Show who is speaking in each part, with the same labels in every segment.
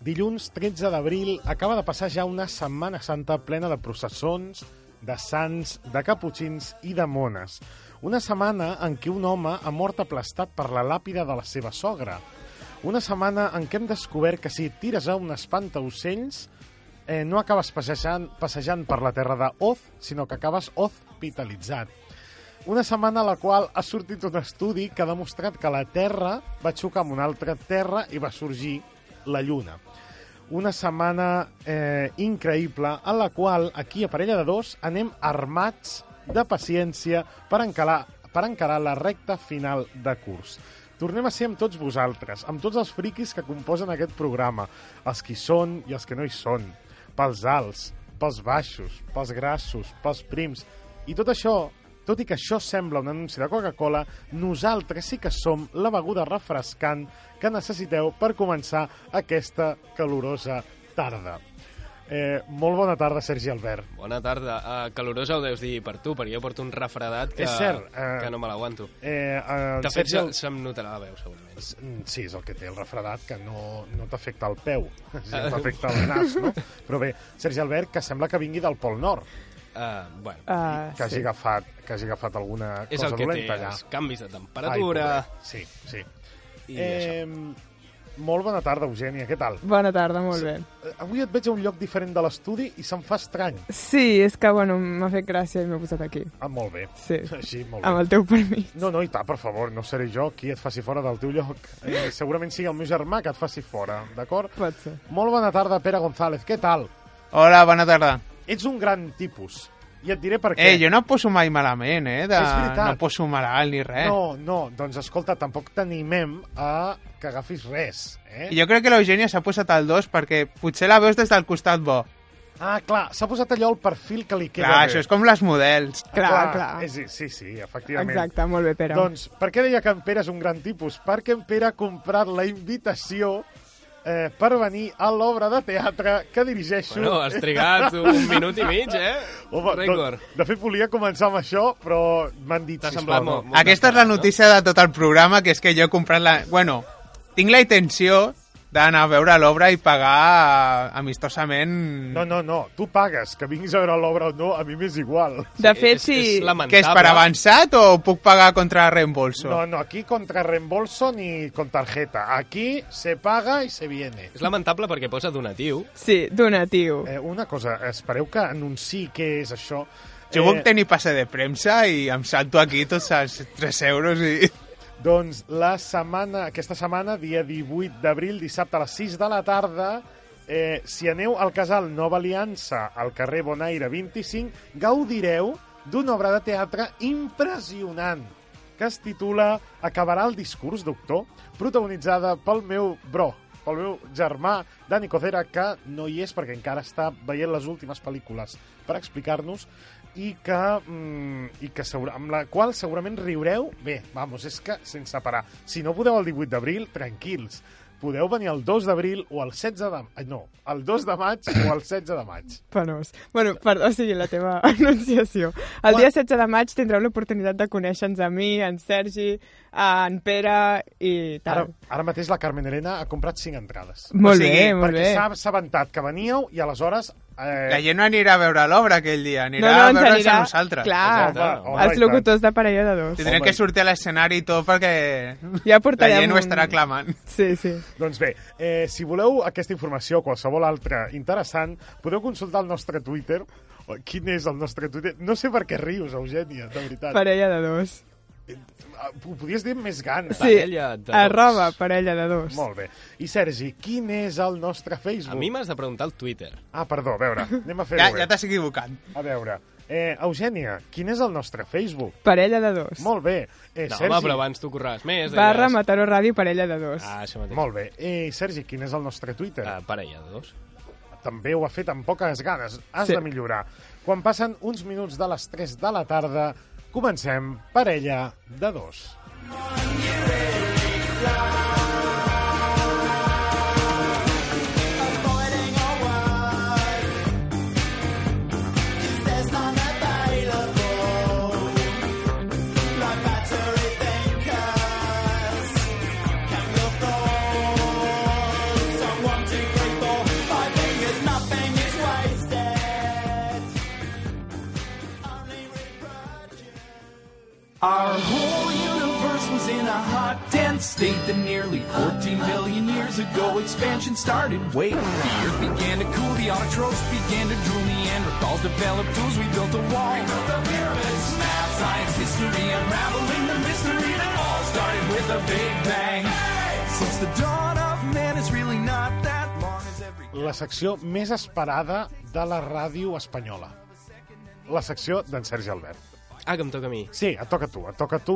Speaker 1: dilluns 13 d'abril acaba de passar ja una Setmana Santa plena de processons, de sants, de caputxins i de mones. Una setmana en què un home ha mort aplastat per la làpida de la seva sogra. Una setmana en què hem descobert que si tires a un espantaocells eh, no acabes passejant, passejant per la terra de Oz, sinó que acabes hospitalitzat. Una setmana a la qual ha sortit un estudi que ha demostrat que la Terra va xocar amb una altra Terra i va sorgir la Lluna. Una setmana eh, increïble en la qual aquí a Parella de Dos anem armats de paciència per encarar, per encarar la recta final de curs. Tornem a ser amb tots vosaltres, amb tots els friquis que composen aquest programa, els qui són i els que no hi són, pels alts, pels baixos, pels grassos, pels prims, i tot això, tot i que això sembla un anunci de Coca-Cola, nosaltres sí que som la beguda refrescant que necessiteu per començar aquesta calorosa tarda. Eh, molt bona tarda, Sergi Albert.
Speaker 2: Bona tarda. Uh, calorosa ho deus dir per tu, perquè jo porto un refredat que,
Speaker 1: És cert, eh,
Speaker 2: que no me l'aguanto.
Speaker 1: Eh, eh,
Speaker 2: De fet,
Speaker 1: Sergi,
Speaker 2: se'm,
Speaker 1: el...
Speaker 2: se'm notarà la veu, segurament.
Speaker 1: Sí, és el que té el refredat, que no, no t'afecta el peu, sí, t'afecta el nas, no? Però bé, Sergi Albert, que sembla que vingui del Pol Nord,
Speaker 2: Uh, bueno,
Speaker 3: Ah,
Speaker 1: que, hagi agafat, que hagi agafat alguna
Speaker 2: és
Speaker 1: cosa
Speaker 2: el que té,
Speaker 1: dolenta allà.
Speaker 2: els canvis de temperatura...
Speaker 1: Ai, pobre. sí, sí.
Speaker 2: I
Speaker 1: eh, molt bona tarda, Eugènia, què tal?
Speaker 3: Bona tarda, molt bé.
Speaker 1: Eh, Avui et veig a un lloc diferent de l'estudi i se'm fa estrany.
Speaker 3: Sí, és que, bueno, m'ha fet gràcia i m'he posat aquí.
Speaker 1: Ah, molt bé.
Speaker 3: Sí,
Speaker 1: Així, molt bé.
Speaker 3: amb el teu permís.
Speaker 1: No, no, i tant, per favor, no seré jo qui et faci fora del teu lloc. Eh, segurament sigui el meu germà que et faci fora, d'acord?
Speaker 3: Pot ser.
Speaker 1: Molt bona tarda, Pere González, què tal?
Speaker 4: Hola, bona tarda.
Speaker 1: Ets un gran tipus, i et diré per què.
Speaker 4: Eh, jo no poso mai malament, eh? De...
Speaker 1: És veritat.
Speaker 4: No poso malalt ni res.
Speaker 1: No, no, doncs escolta, tampoc t'animem a que agafis res, eh?
Speaker 4: Jo crec que l'Eugènia s'ha posat al dos perquè potser la veus des del costat bo.
Speaker 1: Ah, clar, s'ha posat allò el perfil que li queda
Speaker 4: Clar,
Speaker 1: bé.
Speaker 4: això és com les models.
Speaker 1: Ah,
Speaker 3: Clar, clar.
Speaker 1: És, sí, sí, efectivament.
Speaker 3: Exacte, molt bé, Pere.
Speaker 1: Doncs, per què deia que en Pere és un gran tipus? Perquè en Pere ha comprat la invitació eh, per venir a l'obra de teatre que dirigeixo.
Speaker 2: Bueno, has trigat un minut i mig, eh?
Speaker 1: Home, doncs,
Speaker 2: Rècord.
Speaker 1: de fet, volia començar amb això, però m'han dit...
Speaker 2: T'ha
Speaker 1: sisplau,
Speaker 2: semblat
Speaker 1: no.
Speaker 2: molt, molt
Speaker 4: Aquesta és la
Speaker 2: descarat,
Speaker 4: notícia de tot el programa, que és que jo he comprat la... Bueno, tinc la intenció d'anar a veure l'obra i pagar eh, amistosament...
Speaker 1: No, no, no, tu pagues, que vinguis a veure l'obra o no, a mi m'és igual.
Speaker 3: De
Speaker 2: No?
Speaker 3: fet,
Speaker 2: és,
Speaker 3: sí...
Speaker 2: és lamentable.
Speaker 4: Què és, per avançat o puc pagar contra reembolso?
Speaker 1: No, no, aquí contra reembolso ni con tarjeta. Aquí se paga i se viene.
Speaker 2: És lamentable perquè posa donatiu.
Speaker 3: Sí, donatiu.
Speaker 1: Eh, una cosa, espereu que anunciï què és això. Eh,
Speaker 4: Jo puc tenir passe de premsa i em salto aquí tots els 3 euros i...
Speaker 1: Doncs la setmana, aquesta setmana, dia 18 d'abril, dissabte a les 6 de la tarda, eh, si aneu al casal Nova Aliança, al carrer Bonaire 25, gaudireu d'una obra de teatre impressionant que es titula Acabarà el discurs, doctor, protagonitzada pel meu bro, pel meu germà, Dani Cocera, que no hi és perquè encara està veient les últimes pel·lícules per explicar-nos i que, mm, i que segura, amb la qual segurament riureu, bé, vamos, és que sense parar. Si no podeu el 18 d'abril, tranquils. Podeu venir el 2 d'abril o el 16 de... ai, No, el 2 de maig o el 16 de maig.
Speaker 3: Penós. Bueno, perdó, o sigui, la teva anunciació. El dia 16 de maig tindreu l'oportunitat de conèixer-nos a mi, a en Sergi, a en Pere i
Speaker 1: Ara,
Speaker 3: tal.
Speaker 1: ara mateix la Carmen Helena ha comprat 5 entrades.
Speaker 3: Molt
Speaker 4: o sigui,
Speaker 3: bé, molt
Speaker 1: perquè
Speaker 3: bé.
Speaker 1: s'ha assabentat que veníeu i aleshores... Eh,
Speaker 4: La gent no anirà a veure l'obra aquell dia, anirà
Speaker 3: No, no,
Speaker 4: a
Speaker 3: ens
Speaker 4: veure'ns
Speaker 3: anirà-
Speaker 4: a nosaltres.
Speaker 3: clar,
Speaker 1: Home, home, i
Speaker 3: Els
Speaker 1: tant.
Speaker 3: locutors de parella de dos.
Speaker 4: Tindrem
Speaker 1: Home.
Speaker 4: que sortir a l'escenari i tot perquè
Speaker 3: Ja
Speaker 4: la
Speaker 3: portarem...
Speaker 4: gent ho
Speaker 3: un-
Speaker 4: estarà clamant.
Speaker 3: Sí, sí.
Speaker 1: Doncs bé, eh, si voleu aquesta informació o qualsevol altra interessant, podeu consultar el nostre Twitter. O, Quin és el nostre Twitter? No sé per què rius, Eugènia, de veritat.
Speaker 3: Parella de dos.
Speaker 1: Ah, Ho podies dir amb més gana.
Speaker 3: Sí,
Speaker 2: Parella de dos.
Speaker 3: arroba parella de dos.
Speaker 1: Molt bé. I Sergi, quin és el nostre Facebook?
Speaker 2: A mi m'has de preguntar el Twitter.
Speaker 1: Ah, perdó, a veure, anem a fer-ho
Speaker 4: Ja,
Speaker 1: bé.
Speaker 4: ja t'has equivocat.
Speaker 1: A veure, eh, Eugènia, quin és el nostre Facebook?
Speaker 3: Parella de dos.
Speaker 1: Molt bé. Eh,
Speaker 2: No,
Speaker 1: Sergi,
Speaker 2: home, però abans tu correràs més.
Speaker 3: Barra
Speaker 2: deies.
Speaker 3: Mataró Ràdio, parella de dos.
Speaker 2: Ah, això mateix.
Speaker 1: Molt bé. Eh, Sergi, quin és el nostre Twitter?
Speaker 2: Ah, parella de dos.
Speaker 1: també ho ha fet amb poques ganes. Has
Speaker 3: Sí.
Speaker 1: de millorar. Quan passen uns minuts de les 3 de la tarda, comencem parella de dos.
Speaker 5: Someone to break the Our whole universe was in a hot, dense state that nearly 14 billion years ago expansion started. Wait, the earth began to cool, the autotrophs began to drool, Neanderthals developed tools, we built a wall. We built the pyramids, math, science, history, unraveling the mystery that all started with a big bang. Since the dawn of man is really not that long as every.
Speaker 1: La secció més esperada de la ràdio espanyola. La secció d'en Sergi Albert.
Speaker 2: Ah, que em toca a mi.
Speaker 1: Sí, et toca a tu, et toca a tu.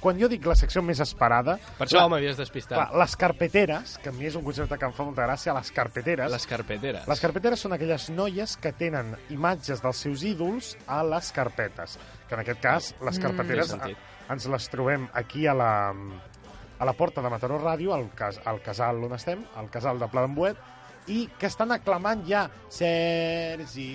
Speaker 1: Quan jo dic la secció més esperada...
Speaker 2: Per això
Speaker 1: la-
Speaker 2: m'havies despistat.
Speaker 1: Clar, les carpeteres, que a mi és un concepte que em fa molta gràcia, les carpeteres...
Speaker 2: Les carpeteres.
Speaker 1: Les carpeteres són aquelles noies que tenen imatges dels seus ídols a les carpetes, que en aquest cas les carpeteres
Speaker 2: Té sentit.
Speaker 1: a- ens les trobem aquí a la, a la porta de Mataró Ràdio, al, cas, al casal on estem, al casal de Pla d'en Buet, i que estan aclamant ja Sergi,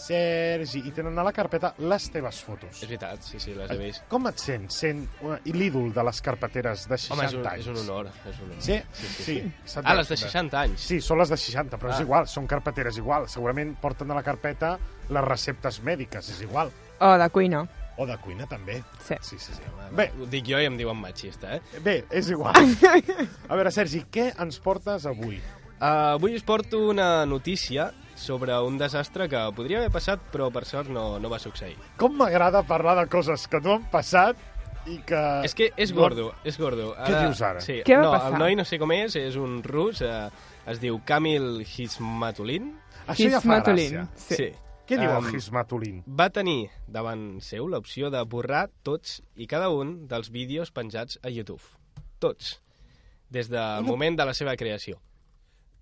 Speaker 1: Sergi, i tenen a la carpeta les teves fotos.
Speaker 2: És veritat, sí, sí, les he vist.
Speaker 1: Com et sents sent una- l'ídol de les carpeteres de 60
Speaker 2: Home, és un,
Speaker 1: anys?
Speaker 2: és un honor, és un honor.
Speaker 1: Sí? Sí, sí. Se't
Speaker 2: Ah,
Speaker 1: veu,
Speaker 2: les de
Speaker 1: se't veu.
Speaker 2: 60 anys.
Speaker 1: Sí, són les de 60, però és
Speaker 2: Ah.
Speaker 1: igual, són carpeteres igual. Segurament porten a la carpeta les receptes mèdiques, és igual.
Speaker 3: O de cuina.
Speaker 1: O de cuina, també.
Speaker 3: Sí.
Speaker 1: Sí, sí, sí. Bé,
Speaker 2: Bé. Ho dic jo i em diuen machista, eh?
Speaker 1: bé, és igual. A veure, Sergi, què ens portes avui?
Speaker 2: Uh, avui us porto una notícia sobre un desastre que podria haver passat, però per sort no, no va succeir.
Speaker 1: Com m'agrada parlar de coses que no han passat i que...
Speaker 2: És que és
Speaker 1: Eh, no-
Speaker 2: gordo, és gordo.
Speaker 1: Què dius ara?
Speaker 2: Sí,
Speaker 3: Què va
Speaker 2: no,
Speaker 3: passar?
Speaker 2: El noi no sé com és, és un rus, eh, es diu Kamil Hizmatulin.
Speaker 1: Això ja fa
Speaker 3: Hizmatulin.
Speaker 1: gràcia.
Speaker 3: Sí.
Speaker 1: Què diu el
Speaker 2: Em,
Speaker 1: Hismatolin?
Speaker 2: Va tenir davant seu l'opció de borrar tots i cada un dels vídeos penjats a YouTube. Tots. Des del moment de la seva creació.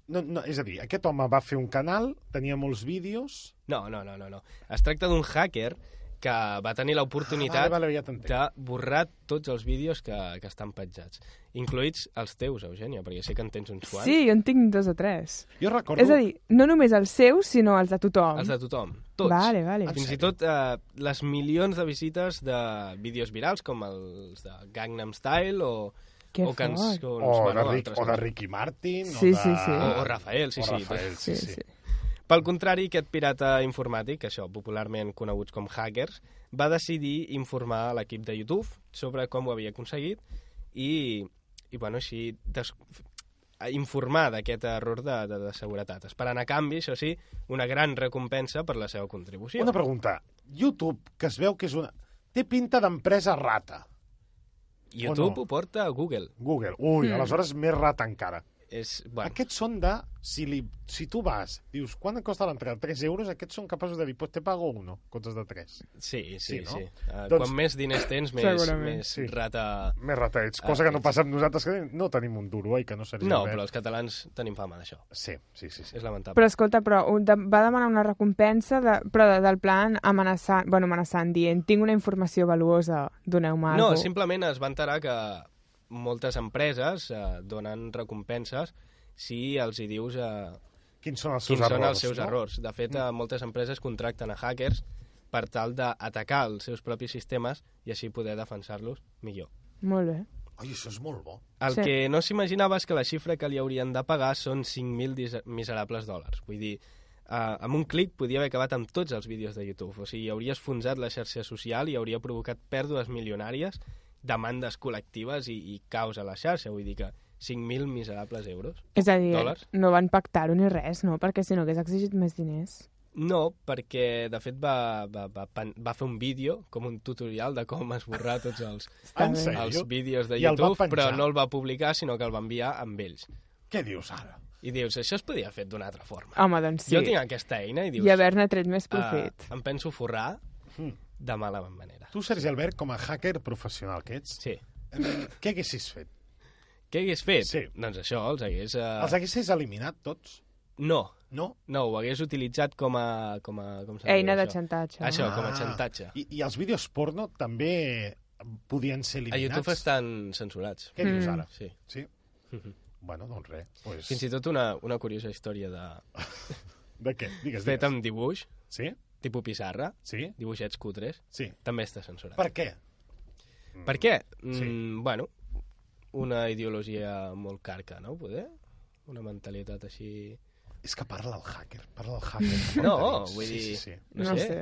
Speaker 1: No, no, és a dir, aquest home va fer un canal, tenia molts vídeos...
Speaker 2: No, no, no, no. no. Es tracta d'un hacker que va tenir l'oportunitat
Speaker 1: Ah, vale, vale, ja t'entenc.
Speaker 2: de borrar tots els vídeos que, que estan penjats, incloïts els teus, Eugènia, perquè sé que en tens uns quants.
Speaker 3: Sí, jo en tinc dos o tres.
Speaker 1: Jo recordo...
Speaker 3: És a dir, no només els seus, sinó els de tothom.
Speaker 2: Els de tothom, tots.
Speaker 3: Vale, vale.
Speaker 1: En
Speaker 2: Fins i
Speaker 1: sèrio?
Speaker 2: tot eh, les milions de visites de vídeos virals, com els de Gangnam Style o,
Speaker 3: Que
Speaker 2: o, cans,
Speaker 3: fort.
Speaker 2: o,
Speaker 1: o, de Rick,
Speaker 2: Doncs, altres
Speaker 1: o de
Speaker 2: cançons.
Speaker 1: Ricky Martin, o
Speaker 3: Sí,
Speaker 1: de...
Speaker 3: sí, sí.
Speaker 2: O- o Rafael, sí,
Speaker 1: o
Speaker 2: sí,
Speaker 1: Rafael, sí, sí.
Speaker 2: Pel contrari, aquest pirata informàtic, això popularment coneguts com hackers, va decidir informar a l'equip de YouTube sobre com ho havia aconseguit i, i bueno, així des... informar d'aquest error de, de, de seguretat, esperant a canvi, això sí, una gran recompensa per la seva contribució.
Speaker 1: Una pregunta. YouTube, que es veu que és una... Té pinta d'empresa rata,
Speaker 2: YouTube
Speaker 1: o no?
Speaker 2: ho porta a Google.
Speaker 1: Google.
Speaker 3: Hmm.
Speaker 1: Ui, mm. aleshores més rata encara.
Speaker 2: És,
Speaker 1: Bueno.
Speaker 2: bueno,
Speaker 1: Aquests són de... Si, li, si tu vas, dius, quan em costa l'entrada? 3 euros? Aquests són capaços de dir, pues te pago uno, en comptes de 3.
Speaker 2: Sí, sí,
Speaker 1: Sí,
Speaker 2: sí.
Speaker 1: no?
Speaker 2: sí. Uh,
Speaker 1: Doncs-
Speaker 2: doncs... Quan més diners tens, més,
Speaker 3: Segurament,
Speaker 2: més
Speaker 1: sí.
Speaker 2: sí. rata...
Speaker 1: Més rata ets, cosa
Speaker 2: Ah,
Speaker 1: que no
Speaker 2: ets.
Speaker 1: passa amb nosaltres, que no tenim un duro, oi, que no seria
Speaker 2: No,
Speaker 1: res.
Speaker 2: però els catalans tenim fama d'això.
Speaker 1: Sí, sí, sí. sí.
Speaker 2: És lamentable.
Speaker 3: Però escolta, però un de, va demanar una recompensa, de, però de, del plan amenaçant, bueno, amenaçant, dient, tinc una informació valuosa, doneu-me
Speaker 2: No,
Speaker 3: alguna cosa.
Speaker 2: simplement es va enterar que moltes empreses eh, donen recompenses si els hi dius eh,
Speaker 1: Quins són els seus
Speaker 2: quins són
Speaker 1: errors?
Speaker 2: els seus
Speaker 1: no? Mm.
Speaker 2: errors. De fet, eh, moltes empreses contracten a hackers per tal d'atacar els seus propis sistemes i així poder defensar-los millor.
Speaker 3: Molt bé.
Speaker 1: Oi, això és molt bo.
Speaker 2: El
Speaker 3: Sí.
Speaker 2: sí. que no s'imaginaves que la xifra que li haurien de pagar són 5.000 dis- miserables dòlars. Vull dir, eh, amb un clic podia haver acabat amb tots els vídeos de YouTube. O sigui, hauria esfonsat la xarxa social i hauria provocat pèrdues milionàries, demandes col·lectives i, i caos a la xarxa. Vull dir que 5.000 miserables euros.
Speaker 3: És a dir,
Speaker 2: Dòlars?
Speaker 3: no van pactar-ho ni res, no? Perquè si no hagués exigit més diners.
Speaker 2: No, perquè de fet va, va, va, pen- va fer un vídeo com un tutorial de com esborrar tots els,
Speaker 3: Està
Speaker 1: En
Speaker 3: bé.
Speaker 1: sèrio?
Speaker 2: els vídeos de
Speaker 1: I el va
Speaker 2: YouTube, però
Speaker 1: penjar.
Speaker 2: no el va publicar, sinó que el va enviar amb ells.
Speaker 1: Què dius ara?
Speaker 2: I dius, això es podia haver fet d'una altra forma.
Speaker 3: Home, doncs sí.
Speaker 2: Jo tinc aquesta eina i dius...
Speaker 3: I haver-ne tret més
Speaker 2: eh,
Speaker 3: profit.
Speaker 2: em penso forrar
Speaker 1: Hmm.
Speaker 2: de mala manera.
Speaker 1: Tu, Sergi Albert, com a hacker professional que ets,
Speaker 2: Sí.
Speaker 1: què haguessis fet?
Speaker 2: Què hagués fet?
Speaker 1: Sí.
Speaker 2: Doncs això, els hagués... Eh...
Speaker 1: Els haguessis eliminat tots?
Speaker 2: No,
Speaker 1: No?
Speaker 2: no, ho hagués utilitzat com a... Com a com se'n diu
Speaker 3: Eina de
Speaker 2: això?
Speaker 3: xantatge.
Speaker 2: Això, com a xantatge.
Speaker 1: Ah. I, I els vídeos porno també podien ser
Speaker 2: A
Speaker 1: eliminats?
Speaker 2: YouTube estan censurats.
Speaker 1: Què dius ara?
Speaker 2: Sí.
Speaker 1: Sí? Bueno, doncs res. Pues...
Speaker 2: Mm-hmm. Fins i tot una, una curiosa història de...
Speaker 1: De què? Digues,
Speaker 2: fet
Speaker 1: digues.
Speaker 2: amb dibuix,
Speaker 1: Sí?
Speaker 2: tipus pissarra,
Speaker 1: Sí?
Speaker 2: dibuixets cutres,
Speaker 1: Sí.
Speaker 2: també està censurat.
Speaker 1: Per què?
Speaker 2: Per què?
Speaker 1: Sí.
Speaker 2: Mm, bueno, una ideologia molt carca, no? Poder? Una mentalitat així...
Speaker 1: És que parla el hacker, parla el hacker.
Speaker 2: No,
Speaker 1: Sí,
Speaker 2: vull dir...
Speaker 1: Sí, sí, sí.
Speaker 3: No sé.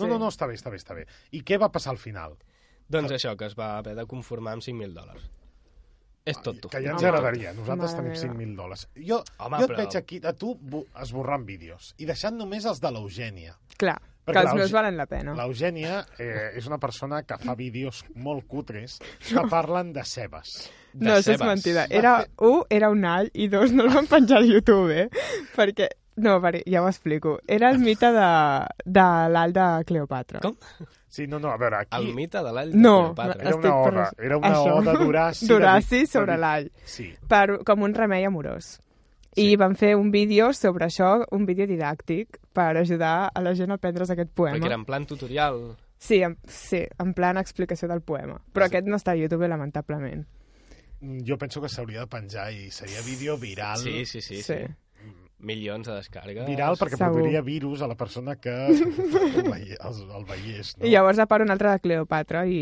Speaker 1: No, no, no, està bé, està bé, està bé. I què va passar al final?
Speaker 2: Doncs això, que es va haver de conformar amb 5.000 dòlars. És tot tu.
Speaker 1: Que ja ens
Speaker 3: Home.
Speaker 1: agradaria. Nosaltres
Speaker 3: Mare
Speaker 1: tenim
Speaker 3: meva.
Speaker 1: 5.000 dòlars. Jo,
Speaker 2: Home,
Speaker 1: jo et
Speaker 2: però-
Speaker 1: veig aquí, a tu, bu- esborrant vídeos i deixant només els de l'Eugènia.
Speaker 3: Clar,
Speaker 1: Perquè
Speaker 3: que els
Speaker 1: l'Euge-
Speaker 3: meus valen la pena.
Speaker 1: L'Eugènia eh, és una persona que fa vídeos molt cutres que parlen de cebes.
Speaker 2: De
Speaker 3: No, això és
Speaker 2: cebes.
Speaker 3: mentida. Era, un, era un all, i dos, no el van penjar al YouTube, eh? Perquè, no, per, ja ho explico. Era el mite de, de l'alt de Cleopatra.
Speaker 2: Com?
Speaker 1: Sí, no, no, a veure, aquí...
Speaker 2: El mite de l'all
Speaker 3: No,
Speaker 2: de Cleopatra.
Speaker 1: Era una
Speaker 3: estic per
Speaker 1: oda,
Speaker 3: això.
Speaker 1: era una
Speaker 3: Això.
Speaker 1: oda d'Horaci.
Speaker 3: D'Horaci
Speaker 1: de Vic-
Speaker 3: sobre
Speaker 1: de Vic-
Speaker 3: l'all.
Speaker 1: Sí,
Speaker 3: per, com un remei amorós. I
Speaker 1: Sí.
Speaker 3: van fer un vídeo sobre això, un vídeo didàctic, per ajudar a la gent a aprendre's aquest poema.
Speaker 2: Perquè era en plan tutorial.
Speaker 3: Sí, en, sí, en plan explicació del poema. Però aquest no està a YouTube, lamentablement.
Speaker 1: jo penso que s'hauria de penjar i seria vídeo viral.
Speaker 2: Sí, sí, sí. sí. Milions de descàrregues.
Speaker 1: Viral perquè
Speaker 3: Segur.
Speaker 1: produiria virus a la persona que el, veie- el, el veiés, no?
Speaker 3: I llavors, a part, un altre de Cleopatra i,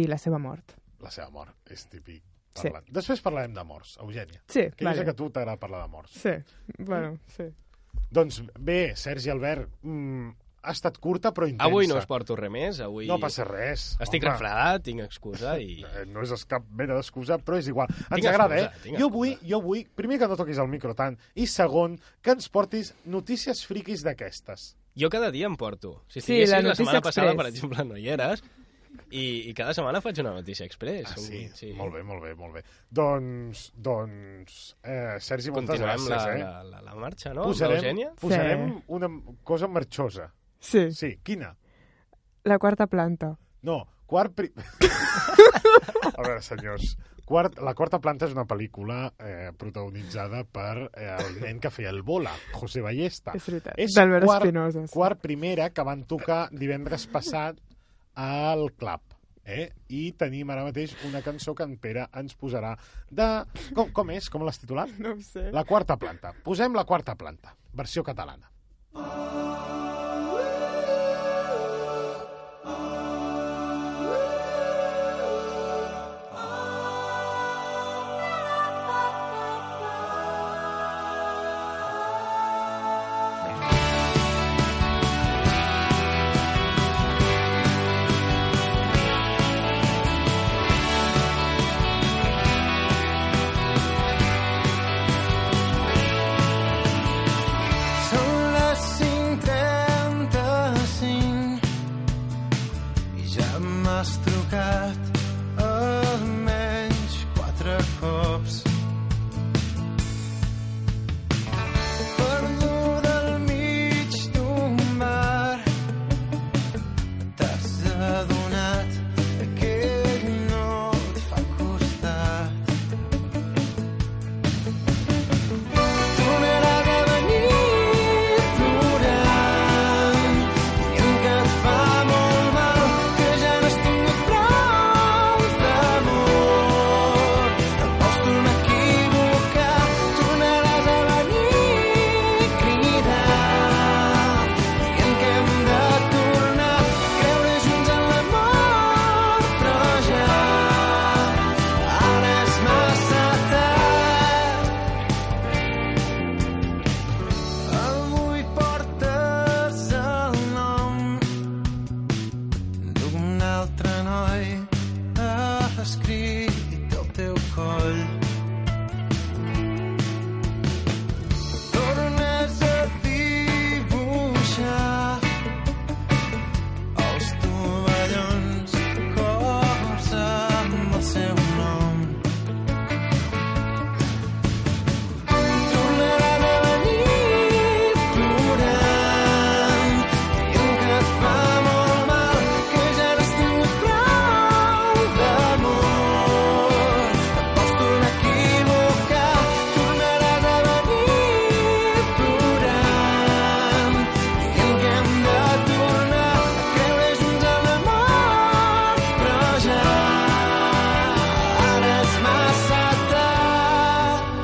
Speaker 3: i la seva mort.
Speaker 1: La seva mort és típic.
Speaker 3: Sí.
Speaker 1: Parlant. Després parlarem de morts, Eugènia.
Speaker 3: Sí,
Speaker 1: Que vale.
Speaker 3: vale.
Speaker 1: jo sé que a tu t'agrada parlar de morts.
Speaker 3: Sí, bueno, sí.
Speaker 1: Doncs bé, Sergi Albert, mm, ha estat curta però intensa.
Speaker 2: Avui no us porto res més, avui
Speaker 1: No passa res.
Speaker 2: estic
Speaker 1: home.
Speaker 2: refredat, tinc excusa i...
Speaker 1: Eh, No és cap mena d'excusa, però és igual. Ens
Speaker 2: Tinc
Speaker 1: agrada, eh?
Speaker 2: excusa, tinc
Speaker 1: Jo
Speaker 2: excusa.
Speaker 1: vull, jo vull, primer que no toquis el micro tant, i segon, que ens portis notícies friquis d'aquestes.
Speaker 2: Jo cada dia em porto. Si
Speaker 3: Sí,
Speaker 2: estiguessis
Speaker 3: la
Speaker 2: la,
Speaker 3: notícia
Speaker 2: setmana passada,
Speaker 3: express.
Speaker 2: per exemple, no hi eres, i, i cada setmana faig una notícia express.
Speaker 1: Ah,
Speaker 2: Un-
Speaker 1: sí? sí? Molt bé, molt bé, molt bé. Doncs, doncs eh, Sergi, moltes
Speaker 2: Continuem
Speaker 1: gràcies,
Speaker 2: la,
Speaker 1: eh?
Speaker 2: la, la, la marxa, no?
Speaker 1: Posarem,
Speaker 2: Eugènia?
Speaker 1: posarem
Speaker 3: Sí.
Speaker 1: una cosa marxosa.
Speaker 3: Sí,
Speaker 1: Sí, quina?
Speaker 3: la quarta planta.
Speaker 1: No, quart... Pri... A veure, senyors, quart, La quarta planta és una pel·lícula eh, protagonitzada per eh, el nen que feia el bola, José Ballesta.
Speaker 3: És veritat,
Speaker 1: És
Speaker 3: d'Albert
Speaker 1: quart-
Speaker 3: Espinosa. sí.
Speaker 1: Quart primera, que van tocar divendres passat al Club. Eh? I tenim ara mateix una cançó que en Pere ens posarà de... Com, com és? Com l'has titulat?
Speaker 3: No ho sé.
Speaker 1: La quarta planta. Posem la quarta planta, versió catalana.
Speaker 6: Són les 5.35 i ja m'has trucat almenys quatre cops. Perduda al mig d'un mar t'has adonat que ell no et fa costat. Tornaràs a venir plorant, dient que et fa molt mal, que ja n'has tingut prou d'amor. Te'n pots tornar a equivocar, tornaràs a venir cridant, dient que hem de tornar a creure junts en l'amor, però ja ara és massa tard. Avui portes el nom d'un altre noi escrit al teu coll. Tornes a dibuixar els tovallons cops amb el seu nom. Tornaran a venir plorant, dient que et fa molt mal, que ja n'has tingut prou d'amor. Et pots tornar a equivocar, tornaràs a venir plorant, dient que hem de tornar a creure junts en l'amor. Però ja ara és massa tard.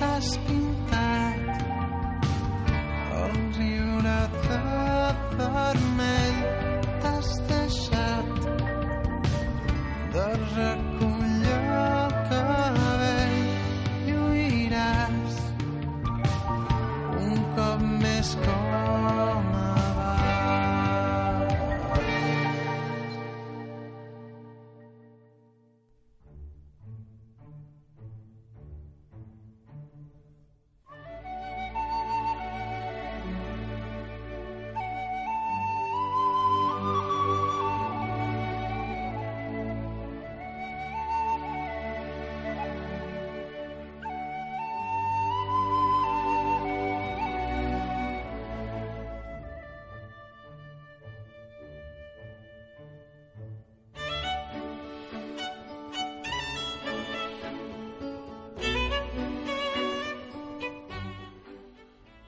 Speaker 6: t'has pintat el riure de Doncs vermell t'has deixat de recollir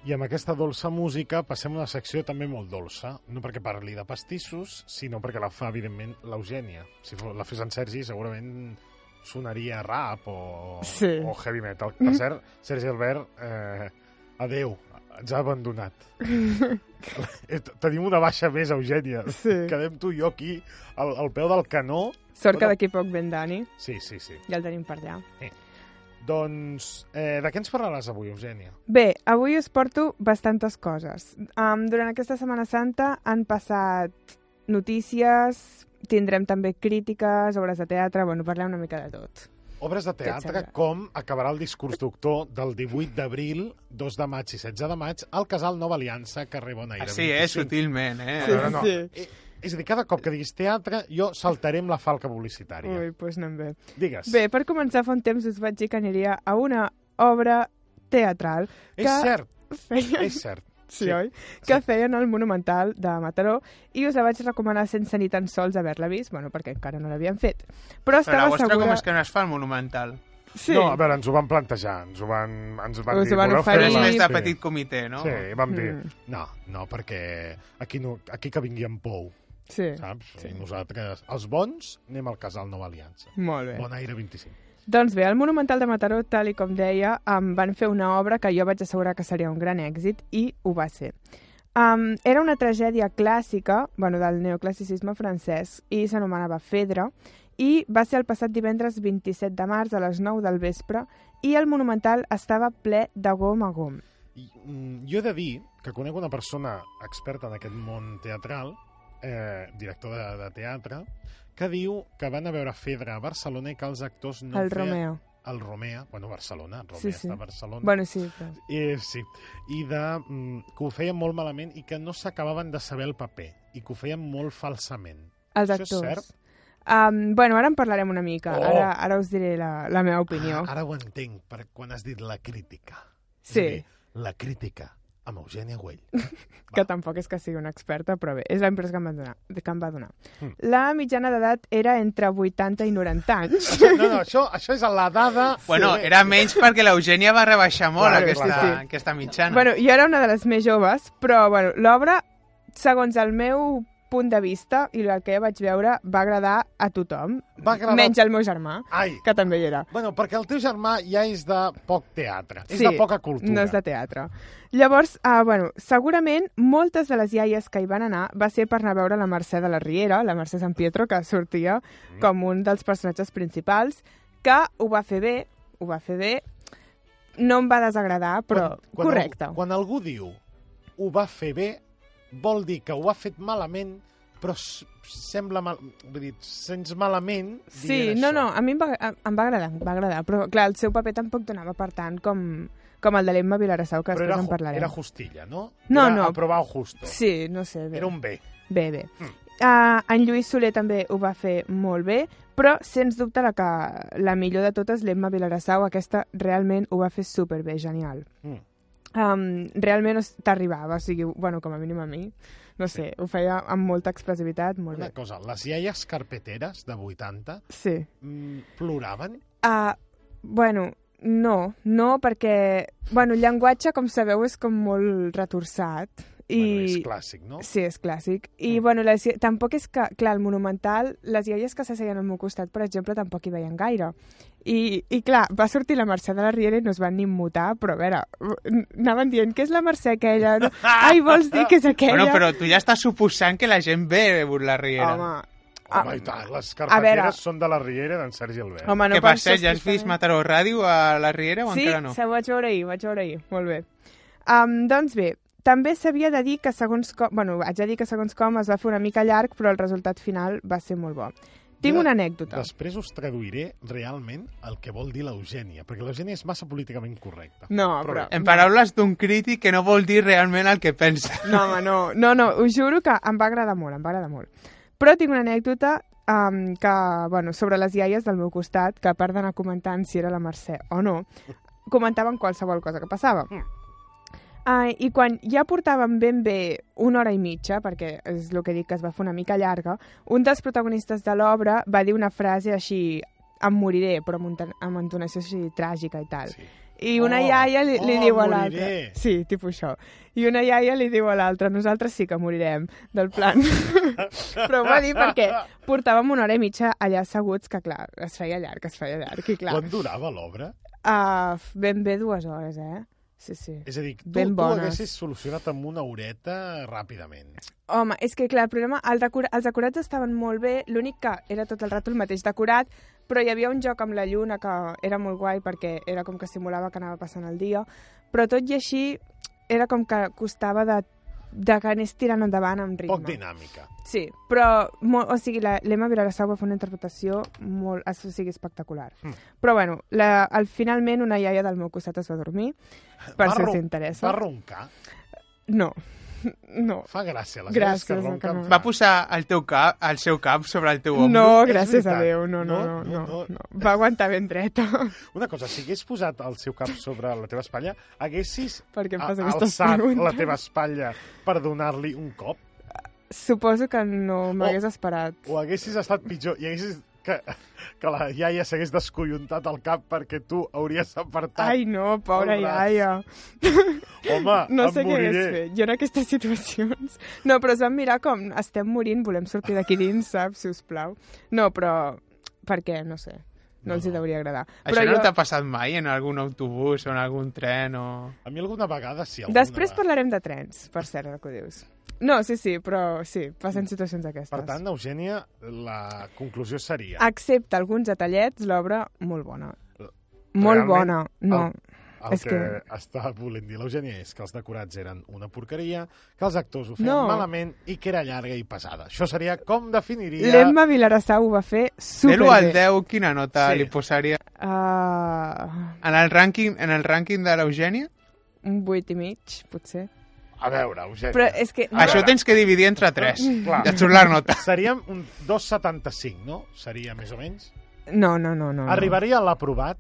Speaker 1: I amb aquesta dolça música passem a una secció també molt dolça, no perquè parli de pastissos, sinó perquè la fa, evidentment, l'Eugènia. Si fo- la fes en Sergi, segurament sonaria rap o,
Speaker 3: Sí. Mm-hmm.
Speaker 1: o heavy metal. Per cert, Sergi Albert, eh, adeu, ens ha abandonat. Eh, t- Tenim una baixa més, Eugènia.
Speaker 3: Sí.
Speaker 1: Quedem tu i jo aquí, al, al peu del canó.
Speaker 3: Sort que d'aquí poc ven Dani,
Speaker 1: Sí, sí, sí.
Speaker 3: ja el tenim per allà.
Speaker 1: Doncs, eh, de què ens parlaràs avui, Eugènia?
Speaker 3: Bé, avui us porto bastantes coses. Um, durant aquesta Setmana Santa han passat notícies, tindrem també crítiques, obres de teatre, bueno, parlem una mica de tot.
Speaker 1: Obres de teatre
Speaker 3: sembla?
Speaker 1: com acabarà el discurs doctor del 18 d'abril, 2 de maig i 16 de maig al Casal Nova Aliança, carrer Bonaire.
Speaker 4: Així, eh?
Speaker 1: 25.
Speaker 4: Sutilment, eh?
Speaker 3: Sí,
Speaker 1: No, no, no.
Speaker 3: sí.
Speaker 1: Eh, És a dir, cada cop que diguis teatre, jo saltaré amb la falca publicitària.
Speaker 3: Ui, doncs pues anem bé.
Speaker 1: Digues.
Speaker 3: Bé, per començar, fa un temps us vaig dir que aniria a una obra teatral
Speaker 1: és
Speaker 3: que
Speaker 1: cert,
Speaker 3: feien...
Speaker 1: és cert.
Speaker 3: Sí, oi? Que feien al Monumental de Mataró i us la vaig recomanar sense ni tan sols haver-la vist, bueno, perquè encara no l'havien fet. Però
Speaker 4: Però la
Speaker 3: estava
Speaker 4: vostra
Speaker 3: segura...
Speaker 4: com és que no es fa el monumental?
Speaker 3: Sí.
Speaker 1: No, a veure, ens ho van plantejar, ens ho van, ens van
Speaker 3: Us
Speaker 1: dir...
Speaker 3: ho van
Speaker 1: "Voleu
Speaker 4: Però
Speaker 3: oferir".
Speaker 1: fer-la?"
Speaker 4: és
Speaker 3: Parim.
Speaker 4: més de
Speaker 1: Sí.
Speaker 4: petit comitè, no?
Speaker 1: Sí, vam dir,
Speaker 3: Mm.
Speaker 1: no, no, perquè aquí, no, aquí que vingui en Pou,
Speaker 3: sí.
Speaker 1: saps? I nosaltres, els bons, anem al Casal Nova Aliança.
Speaker 3: Molt bé.
Speaker 1: Bon aire 25.
Speaker 3: Doncs bé, al Monumental de Mataró, tal i com deia, em van fer una obra que jo vaig assegurar que seria un gran èxit i ho va ser. Um, era una tragèdia clàssica, bueno, del neoclassicisme francès, i s'anomenava Fedra, i va ser el passat divendres 27 de març a les 9 del vespre, i el Monumental estava ple de gom a gom.
Speaker 1: I, mm, jo he de dir que conec una persona experta en aquest món teatral, eh, director de, de teatre, que diu que van a veure Fedra a Barcelona i que els actors no
Speaker 3: No el
Speaker 1: feien...
Speaker 3: Romeo.
Speaker 1: El Romea, bueno, Barcelona, Romea sí,
Speaker 3: Sí, sí.
Speaker 1: sí. està a Barcelona.
Speaker 3: Bueno, sí, però...
Speaker 1: Eh, sí, i de, mm, que ho feien molt malament i que no s'acabaven de saber el paper i que ho feien molt falsament.
Speaker 3: Els
Speaker 1: Això és
Speaker 3: actors.
Speaker 1: cert?
Speaker 3: Um, bueno, ara en parlarem una mica.
Speaker 1: Oh!
Speaker 3: Ara, ara us diré la, la meva opinió.
Speaker 1: Ah, ara ho entenc, per quan has dit la crítica. És
Speaker 3: Sí.
Speaker 1: a dir, la crítica, amb Eugènia Güell.
Speaker 3: que tampoc és que sigui una experta, però bé, és la impressió que em va donar. Que em va donar.
Speaker 1: Mm.
Speaker 3: La mitjana d'edat era entre 80 i 90 anys.
Speaker 1: No, no, això, això és la dada...
Speaker 4: Bueno,
Speaker 1: Sí.
Speaker 4: era menys perquè l'Eugènia va rebaixar molt
Speaker 1: Clar,
Speaker 4: aquesta,
Speaker 1: clar,
Speaker 3: sí.
Speaker 4: aquesta mitjana.
Speaker 3: bueno, jo era una de les més joves, però bueno, l'obra, segons el meu punt de vista i la que vaig veure, va agradar a tothom,
Speaker 1: Va agradar-
Speaker 3: menys al meu germà,
Speaker 1: Ai,
Speaker 3: que també hi era.
Speaker 1: Bueno, perquè el teu germà ja és de poc teatre, és de poca cultura.
Speaker 3: No és de teatre. Llavors, uh, bueno, segurament moltes de les iaies que hi van anar va ser per anar a veure la Mercè de la Riera, la Mercè San Pietro, que sortia
Speaker 1: Mm.
Speaker 3: com un dels personatges principals, que ho va fer bé, ho va fer bé, no em va desagradar, però correcte.
Speaker 1: Algú, quan algú diu ho va fer bé, vol dir que ho ha fet malament, però s- sembla mal... Vull dir, sents malament
Speaker 3: Sí, no, no, a mi em va, a- em va agradar, em va agradar, però clar, el seu paper tampoc donava per tant com, com el de l'Emma Vilarasau, que
Speaker 1: Però
Speaker 3: després
Speaker 1: era,
Speaker 3: en
Speaker 1: ju-
Speaker 3: parlarem.
Speaker 1: era justilla, no?
Speaker 3: No,
Speaker 1: era
Speaker 3: no.
Speaker 1: Aprovar justo.
Speaker 3: Sí, no sé. Bé.
Speaker 1: Era un bé.
Speaker 3: Bé, bé.
Speaker 1: Mm.
Speaker 3: Uh, en Lluís Soler també ho va fer molt bé, però sens dubte la, que, la millor de totes, l'Emma Vilarasau, aquesta realment ho va fer superbé, genial.
Speaker 1: Mm.
Speaker 3: Um, realment es- t'arribava, o sigui, bueno, com a mínim a mi, no sé, ho feia amb molta expressivitat, molt
Speaker 1: Una
Speaker 3: bé.
Speaker 1: cosa, les iaies carpeteres de 80
Speaker 3: Sí.
Speaker 1: mm, ploraven?
Speaker 3: Uh, bueno, no, no, perquè, bueno, el llenguatge, com sabeu, és com molt retorçat. I...
Speaker 1: Bueno, és clàssic, no?
Speaker 3: Sí, és clàssic. I,
Speaker 1: Mm.
Speaker 3: bueno, les, tampoc és que... Clar, el Monumental, les iaies que s'asseien al meu costat, per exemple, tampoc hi veien gaire. I, I, clar, va sortir la Mercè de la Riera i no es van ni mutar, però, a veure, n- anaven dient que és la Mercè aquella. No? Ai, vols dir que és aquella?
Speaker 4: Bueno, però tu ja estàs suposant que la gent ve la Riera.
Speaker 3: Home,
Speaker 1: Home, i tant, les
Speaker 3: ah, a veure.
Speaker 1: carpeteres són de la Riera d'en Sergi Albert.
Speaker 3: home, no
Speaker 4: Què passa?
Speaker 3: penses
Speaker 4: Ja has vist
Speaker 3: justament-
Speaker 4: Mataró Ràdio a la Riera o
Speaker 3: sí,
Speaker 4: encara no?
Speaker 3: se ho vaig veure ahir, vaig veure ahir, molt bé. Um, doncs bé, també s'havia de dir que segons com... Bueno, haig de dir que segons com es va fer una mica llarg, però el resultat final va ser molt bo. Tinc
Speaker 1: Jo
Speaker 3: una anècdota.
Speaker 1: Després us traduiré realment el que vol dir l'Eugènia, perquè l'Eugènia és massa políticament correcta.
Speaker 3: No, però-
Speaker 1: bé.
Speaker 4: En paraules d'un crític que no vol dir realment el que pensa.
Speaker 3: No, home, no, no, no, us juro que em va agradar molt, em va agradar molt. Però tinc una anècdota um, que, bueno, sobre les iaies del meu costat, que a part d'anar comentant si era la Mercè o no, comentaven qualsevol cosa que passava. Ah, I quan ja portàvem ben bé una hora i mitja, perquè és el que dic que es va fer una mica llarga, un dels protagonistes de l'obra va dir una frase així em moriré, però amb, un ton- amb entonació així tràgica i tal.
Speaker 1: Sí.
Speaker 3: I una
Speaker 1: Oh,
Speaker 3: iaia li, li
Speaker 1: oh,
Speaker 3: diu a l'altra...
Speaker 1: moriré.
Speaker 3: Sí, tipus això. I una iaia li diu a l'altra, nosaltres sí que morirem, del plan. Però ho va dir perquè portàvem una hora i mitja allà asseguts, que clar, es feia llarg, es feia llarg, i clar...
Speaker 1: Quan durava l'obra?
Speaker 3: Uh, ben bé dues hores, eh? Sí, sí.
Speaker 1: És a dir, tu,
Speaker 3: Ben
Speaker 1: tu
Speaker 3: bones.
Speaker 1: haguessis solucionat amb una horeta ràpidament.
Speaker 3: Home, és que clar, el problema... El decor, els decorats estaven molt bé, l'únic que era tot el rato el mateix decorat, però hi havia un joc amb la lluna que era molt guai perquè era com que simulava que anava passant el dia, però tot i així era com que costava de, de que anés tirant endavant amb ritme.
Speaker 1: Poc dinàmica.
Speaker 3: Sí, però, mo, o sigui, la- l'Emma Vilarasau va fer una interpretació molt, o sigui, espectacular.
Speaker 1: Mm.
Speaker 3: Però, bueno, la, al, finalment una iaia del meu costat es va dormir, per
Speaker 1: Va
Speaker 3: si us
Speaker 1: ron-
Speaker 3: interessa.
Speaker 1: Va roncar.
Speaker 3: No, no.
Speaker 1: Fa gràcia. Les
Speaker 3: Gràcies,
Speaker 1: noies que ronquen.
Speaker 3: no, no.
Speaker 4: Va posar el teu cap, el seu cap sobre el teu ombro?
Speaker 3: No,
Speaker 1: És
Speaker 3: gràcies a
Speaker 1: veritat.
Speaker 3: Déu, no, no, no, no, no, no. Va aguantar ben dreta,
Speaker 1: Una cosa, si hagués posat el seu cap sobre la teva espatlla, haguessis
Speaker 3: perquè em
Speaker 1: a-
Speaker 3: fas aquestes
Speaker 1: alçat la
Speaker 3: preguntes.
Speaker 1: teva espatlla per donar-li un cop?
Speaker 3: Suposo que no
Speaker 1: Oh.
Speaker 3: m'hagués esperat.
Speaker 1: O haguessis estat pitjor i haguessis que, que la iaia s'hagués descollontat el cap perquè tu hauries apartat.
Speaker 3: Ai, no, pobra
Speaker 1: Pobres.
Speaker 3: iaia.
Speaker 1: Home,
Speaker 3: No
Speaker 1: Ah, em
Speaker 3: sé què
Speaker 1: moriré.
Speaker 3: hagués fet. Jo en aquestes situacions... No, però es van mirar com estem morint, volem sortir d'aquí dins, saps, si us plau. No, però... Per què? No sé. No,
Speaker 1: No,
Speaker 3: els hi
Speaker 1: no.
Speaker 3: deuria agradar.
Speaker 4: Això
Speaker 3: però
Speaker 4: no t'ha passat mai en algun autobús o en algun tren o...
Speaker 1: A mi alguna vegada sí. Alguna
Speaker 3: Després
Speaker 1: vegada.
Speaker 3: parlarem de trens, per cert, ara que ho dius. No, sí, sí, però sí, passen situacions aquestes.
Speaker 1: Mm. Per tant, Eugènia, la conclusió seria...
Speaker 3: Excepte alguns detallets, l'obra molt bona. Molt
Speaker 1: Realment,
Speaker 3: bona, no.
Speaker 1: el- El
Speaker 3: és
Speaker 1: que,
Speaker 3: que-
Speaker 1: està volent dir l'Eugènia és que els decorats eren una porqueria, que els actors ho feien
Speaker 3: No.
Speaker 1: malament i que era llarga i pesada. Això seria com definiria...
Speaker 3: L'Emma Vilarassau ho va fer
Speaker 4: De l'1 al
Speaker 3: superbé.
Speaker 4: 10, quina nota
Speaker 1: Sí.
Speaker 4: li posaria?
Speaker 3: Uh,
Speaker 4: En el rànquing, en el rànquing de l'Eugènia?
Speaker 3: un 8 i mig, potser.
Speaker 1: A veure, Eugènia...
Speaker 3: Però Mm. és que...
Speaker 1: A
Speaker 4: Això
Speaker 1: veure.
Speaker 4: tens que dividir entre 3.
Speaker 1: Clar.
Speaker 4: Ja et surt la nota.
Speaker 1: Seríem un 2,75, no? Seria més o menys.
Speaker 3: No, no, no, no. no.
Speaker 1: Arribaria a l'aprovat.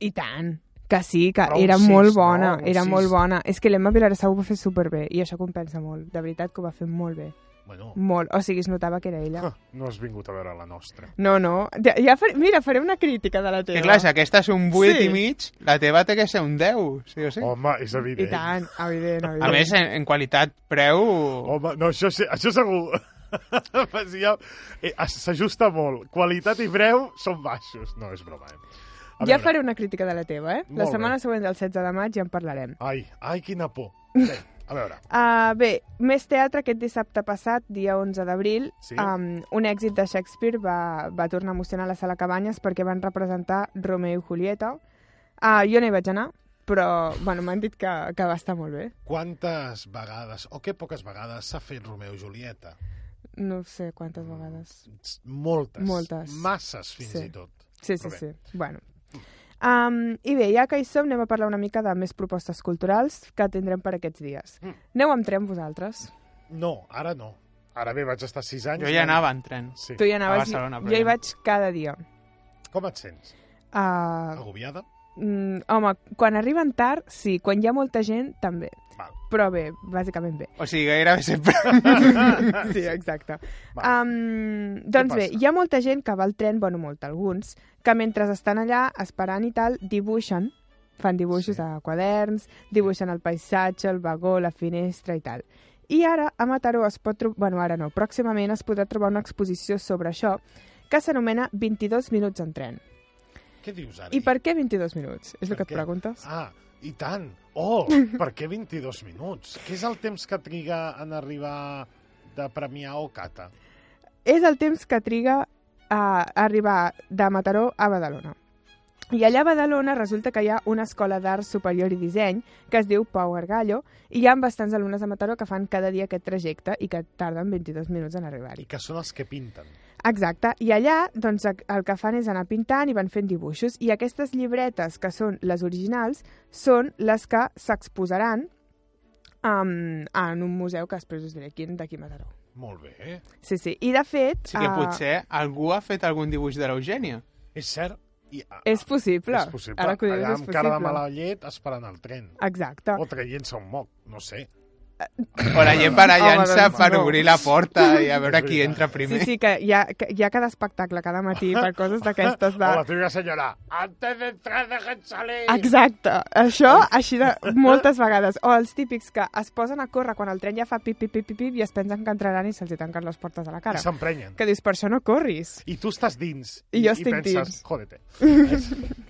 Speaker 3: I tant. Que sí, que
Speaker 1: Però un
Speaker 3: era
Speaker 1: sis,
Speaker 3: molt
Speaker 1: no?
Speaker 3: bona,
Speaker 1: Un
Speaker 3: era
Speaker 1: sis.
Speaker 3: molt bona. És que l'Emma Vilarassau ho va fer superbé i això compensa molt. De veritat que ho va fer molt bé.
Speaker 1: Bueno,
Speaker 3: Molt. O sigui, es notava que era ella.
Speaker 1: ja. no has vingut a veure la nostra.
Speaker 3: No, no. Ja, ja fa... Mira, faré una crítica de la teva.
Speaker 4: Que clar, si aquesta és un 8
Speaker 3: Sí.
Speaker 4: i mig, la teva té que ser un 10, sí o sí.
Speaker 1: Home, és
Speaker 3: I
Speaker 1: evident.
Speaker 3: tant, evident, evident.
Speaker 4: A més, en, en qualitat, preu...
Speaker 1: Home, no, això, sí- això segur. Pues ja, eh, S'ajusta molt. Qualitat i breu són baixos. No, és broma. Eh? A
Speaker 3: Ja
Speaker 1: veure.
Speaker 3: faré una crítica de la teva, eh?
Speaker 1: Molt
Speaker 3: la
Speaker 1: bé.
Speaker 3: setmana següent del 16 de maig ja en parlarem.
Speaker 1: Ai, ai, quina por. Bé, a veure,
Speaker 3: Uh, bé, més teatre aquest dissabte passat, dia 11 d'abril.
Speaker 1: Sí.
Speaker 3: Um, un èxit de Shakespeare va, va tornar a emocionar la sala Cabanyes perquè van representar Romeo i Julieta. Uh, jo no hi vaig anar, però bueno, m'han dit que, que va estar molt bé.
Speaker 1: quantes vegades, o que poques vegades, s'ha fet Romeo i Julieta?
Speaker 3: No sé quantes vegades.
Speaker 1: S- Moltes.
Speaker 3: Moltes.
Speaker 1: Masses, fins
Speaker 3: Sí.
Speaker 1: i tot.
Speaker 3: Sí, sí,
Speaker 1: Però bé.
Speaker 3: sí. Bueno. Um, I bé, ja que hi som, anem a parlar una mica de més propostes culturals que tindrem per aquests dies.
Speaker 1: Mm.
Speaker 3: Aneu amb tren vosaltres?
Speaker 1: No, ara no. Ara bé, vaig estar sis anys.
Speaker 4: Jo ja anava en tren.
Speaker 1: Sí.
Speaker 3: Tu hi anaves,
Speaker 4: Barcelona, però
Speaker 3: jo hi
Speaker 4: ja no.
Speaker 3: vaig cada dia.
Speaker 1: Com et sents?
Speaker 3: Uh,
Speaker 1: Agobiada?
Speaker 3: mm, home, quan arriben tard, sí, quan hi ha molta gent, també.
Speaker 1: Val.
Speaker 3: Però bé, bàsicament bé.
Speaker 4: O sigui, gairebé sempre...
Speaker 3: Ah. Sí, exacte.
Speaker 1: Val.
Speaker 3: Um, doncs
Speaker 1: Ah.
Speaker 3: bé,
Speaker 1: passa?
Speaker 3: hi ha molta gent que va al tren, bueno, molt alguns, que mentre estan allà esperant i tal, dibuixen, fan dibuixos
Speaker 1: Sí.
Speaker 3: sí. a quaderns, dibuixen el paisatge, el vagó, la finestra i tal. I ara a Mataró es pot trobar, bueno, ara no, pròximament es podrà trobar una exposició sobre això que s'anomena 22 minuts en tren.
Speaker 1: Què dius ara?
Speaker 3: I per què 22 minuts? És el
Speaker 1: Per
Speaker 3: que et
Speaker 1: què?
Speaker 3: preguntes?
Speaker 1: Ah, i tant. Oh, per què 22 minuts? Què és el temps que triga en arribar de Premià o Cata?
Speaker 3: és el temps que triga a arribar de Mataró a Badalona. I allà a Badalona resulta que hi ha una escola d'art superior i disseny que es diu Pau Argallo i hi ha bastants alumnes de Mataró que fan cada dia aquest trajecte i que tarden 22 minuts en
Speaker 1: I
Speaker 3: arribar-hi.
Speaker 1: que són els que pinten.
Speaker 3: Exacte, i allà doncs, ac- el que fan és anar pintant i van fent dibuixos i aquestes llibretes que són les originals són les que s'exposaran um, en un museu que després us diré quin d'aquí a Mataró.
Speaker 1: Molt bé, eh?
Speaker 3: Sí, sí, i de fet...
Speaker 4: Sí que
Speaker 3: ah,
Speaker 4: potser algú ha fet algun dibuix de l'Eugènia.
Speaker 1: És cert? I, ah,
Speaker 3: És possible.
Speaker 1: És possible.
Speaker 3: Ara que ho dius,
Speaker 1: Allà
Speaker 3: és Ah.
Speaker 1: amb cara de
Speaker 3: possible.
Speaker 1: mala llet esperant el tren.
Speaker 3: Exacte.
Speaker 1: O traient-se un moc, no sé.
Speaker 4: O la gent
Speaker 1: Ah,
Speaker 4: barallant-se
Speaker 3: Home, doncs
Speaker 4: per
Speaker 3: no.
Speaker 4: obrir la porta i a veure qui entra
Speaker 3: Sí,
Speaker 4: primer.
Speaker 3: sí, que hi ha, que hi ha cada espectacle cada matí per coses d'aquestes de...
Speaker 1: O la típica senyora, antes de entrar, dejen salir.
Speaker 3: Exacte, això així de moltes vegades. O els típics que es posen a córrer quan el tren ja fa pip, pip, pip, pip, pip i es pensen que entraran i se'ls hi tanquen les portes a la
Speaker 1: I
Speaker 3: cara.
Speaker 1: s'emprenyen.
Speaker 3: Que dius, per això no corris.
Speaker 1: I tu estàs dins.
Speaker 3: I jo estic
Speaker 1: i penses,
Speaker 3: dins.
Speaker 1: Jódete.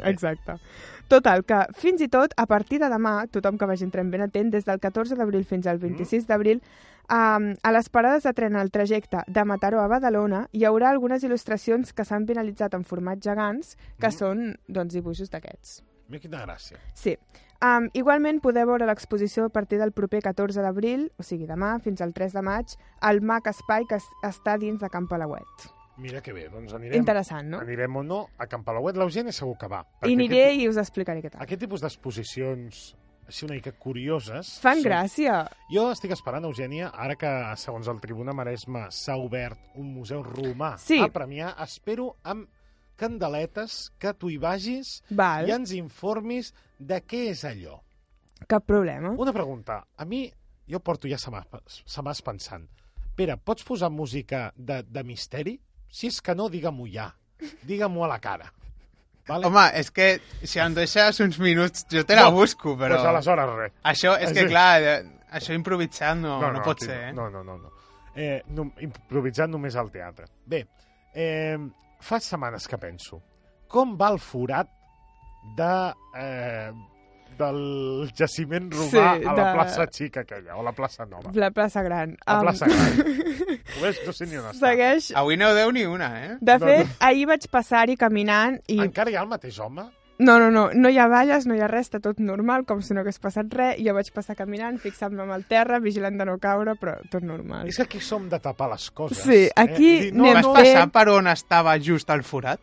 Speaker 3: Exacte. Total, que fins i tot a partir de demà, tothom que vagi en tren ben atent, des del 14 d'abril fins al 26
Speaker 1: Mm.
Speaker 3: d'abril, um, a les parades de tren al trajecte de Mataró a Badalona hi haurà algunes il·lustracions que s'han penalitzat en format gegants,
Speaker 1: Mm.
Speaker 3: que són doncs, dibuixos d'aquests.
Speaker 1: Mira quina gràcia.
Speaker 3: Sí. Um, igualment, podeu veure l'exposició a partir del proper 14 d'abril, o sigui demà, fins al 3 de maig, al MAC Espai, que es- està dins de Camp Palauet.
Speaker 1: Mira que bé, doncs anirem...
Speaker 3: Interessant, no?
Speaker 1: Anirem o no a Campalauet. L'Eugènia segur que va. perquè
Speaker 3: I aniré
Speaker 1: Aquest,
Speaker 3: i us explicaré què tal.
Speaker 1: aquest tipus d'exposicions així una mica curioses...
Speaker 3: Fan
Speaker 1: són-
Speaker 3: gràcia.
Speaker 1: Jo estic esperant, Eugènia, ara que, segons el Tribuna Maresme, s'ha obert un museu romà
Speaker 3: Sí.
Speaker 1: a Premià, espero amb candeletes que tu hi vagis
Speaker 3: Val,
Speaker 1: i ens informis de què és allò.
Speaker 3: cap problema.
Speaker 1: Una pregunta. A mi, jo porto ja setmanes setmanes pensant. Pere, pots posar música de, de misteri? Si és que no, digue-m'ho ja. Digue-m'ho a la cara. Vale?
Speaker 4: Home, és que si em deixes uns minuts jo te la
Speaker 1: No,
Speaker 4: busco, però...
Speaker 1: Pues aleshores res.
Speaker 4: Això, és que
Speaker 1: Sí.
Speaker 4: clar, eh, això improvisant no, no, pot
Speaker 1: tio,
Speaker 4: ser, eh?
Speaker 1: No, no, no. no. Eh, no improvisant només al teatre. Bé, eh, fa setmanes que penso. Com va el forat de... Eh, del jaciment romà
Speaker 3: Sí,
Speaker 1: sí, a la
Speaker 3: de-
Speaker 1: plaça xica aquella, o la plaça nova.
Speaker 3: La plaça gran.
Speaker 1: La
Speaker 3: Em-
Speaker 1: plaça gran. Ho veus? No sé ni on està. Ah,
Speaker 3: Segueix...
Speaker 4: Avui no deu ni una, eh?
Speaker 3: De
Speaker 1: No,
Speaker 3: fet, ahir vaig passar-hi caminant i...
Speaker 1: Encara hi ha el mateix home?
Speaker 3: No, no, no, no hi ha valles, no hi ha res, està tot normal, com si no hagués passat res. I Jo vaig passar caminant, fixant-me amb el terra, vigilant de no caure, però tot normal.
Speaker 1: És que aquí som de tapar les coses.
Speaker 3: Sí, aquí
Speaker 1: I dir, no,
Speaker 3: anem
Speaker 4: Vas
Speaker 1: no,
Speaker 3: fent-
Speaker 4: passar per on estava just el forat?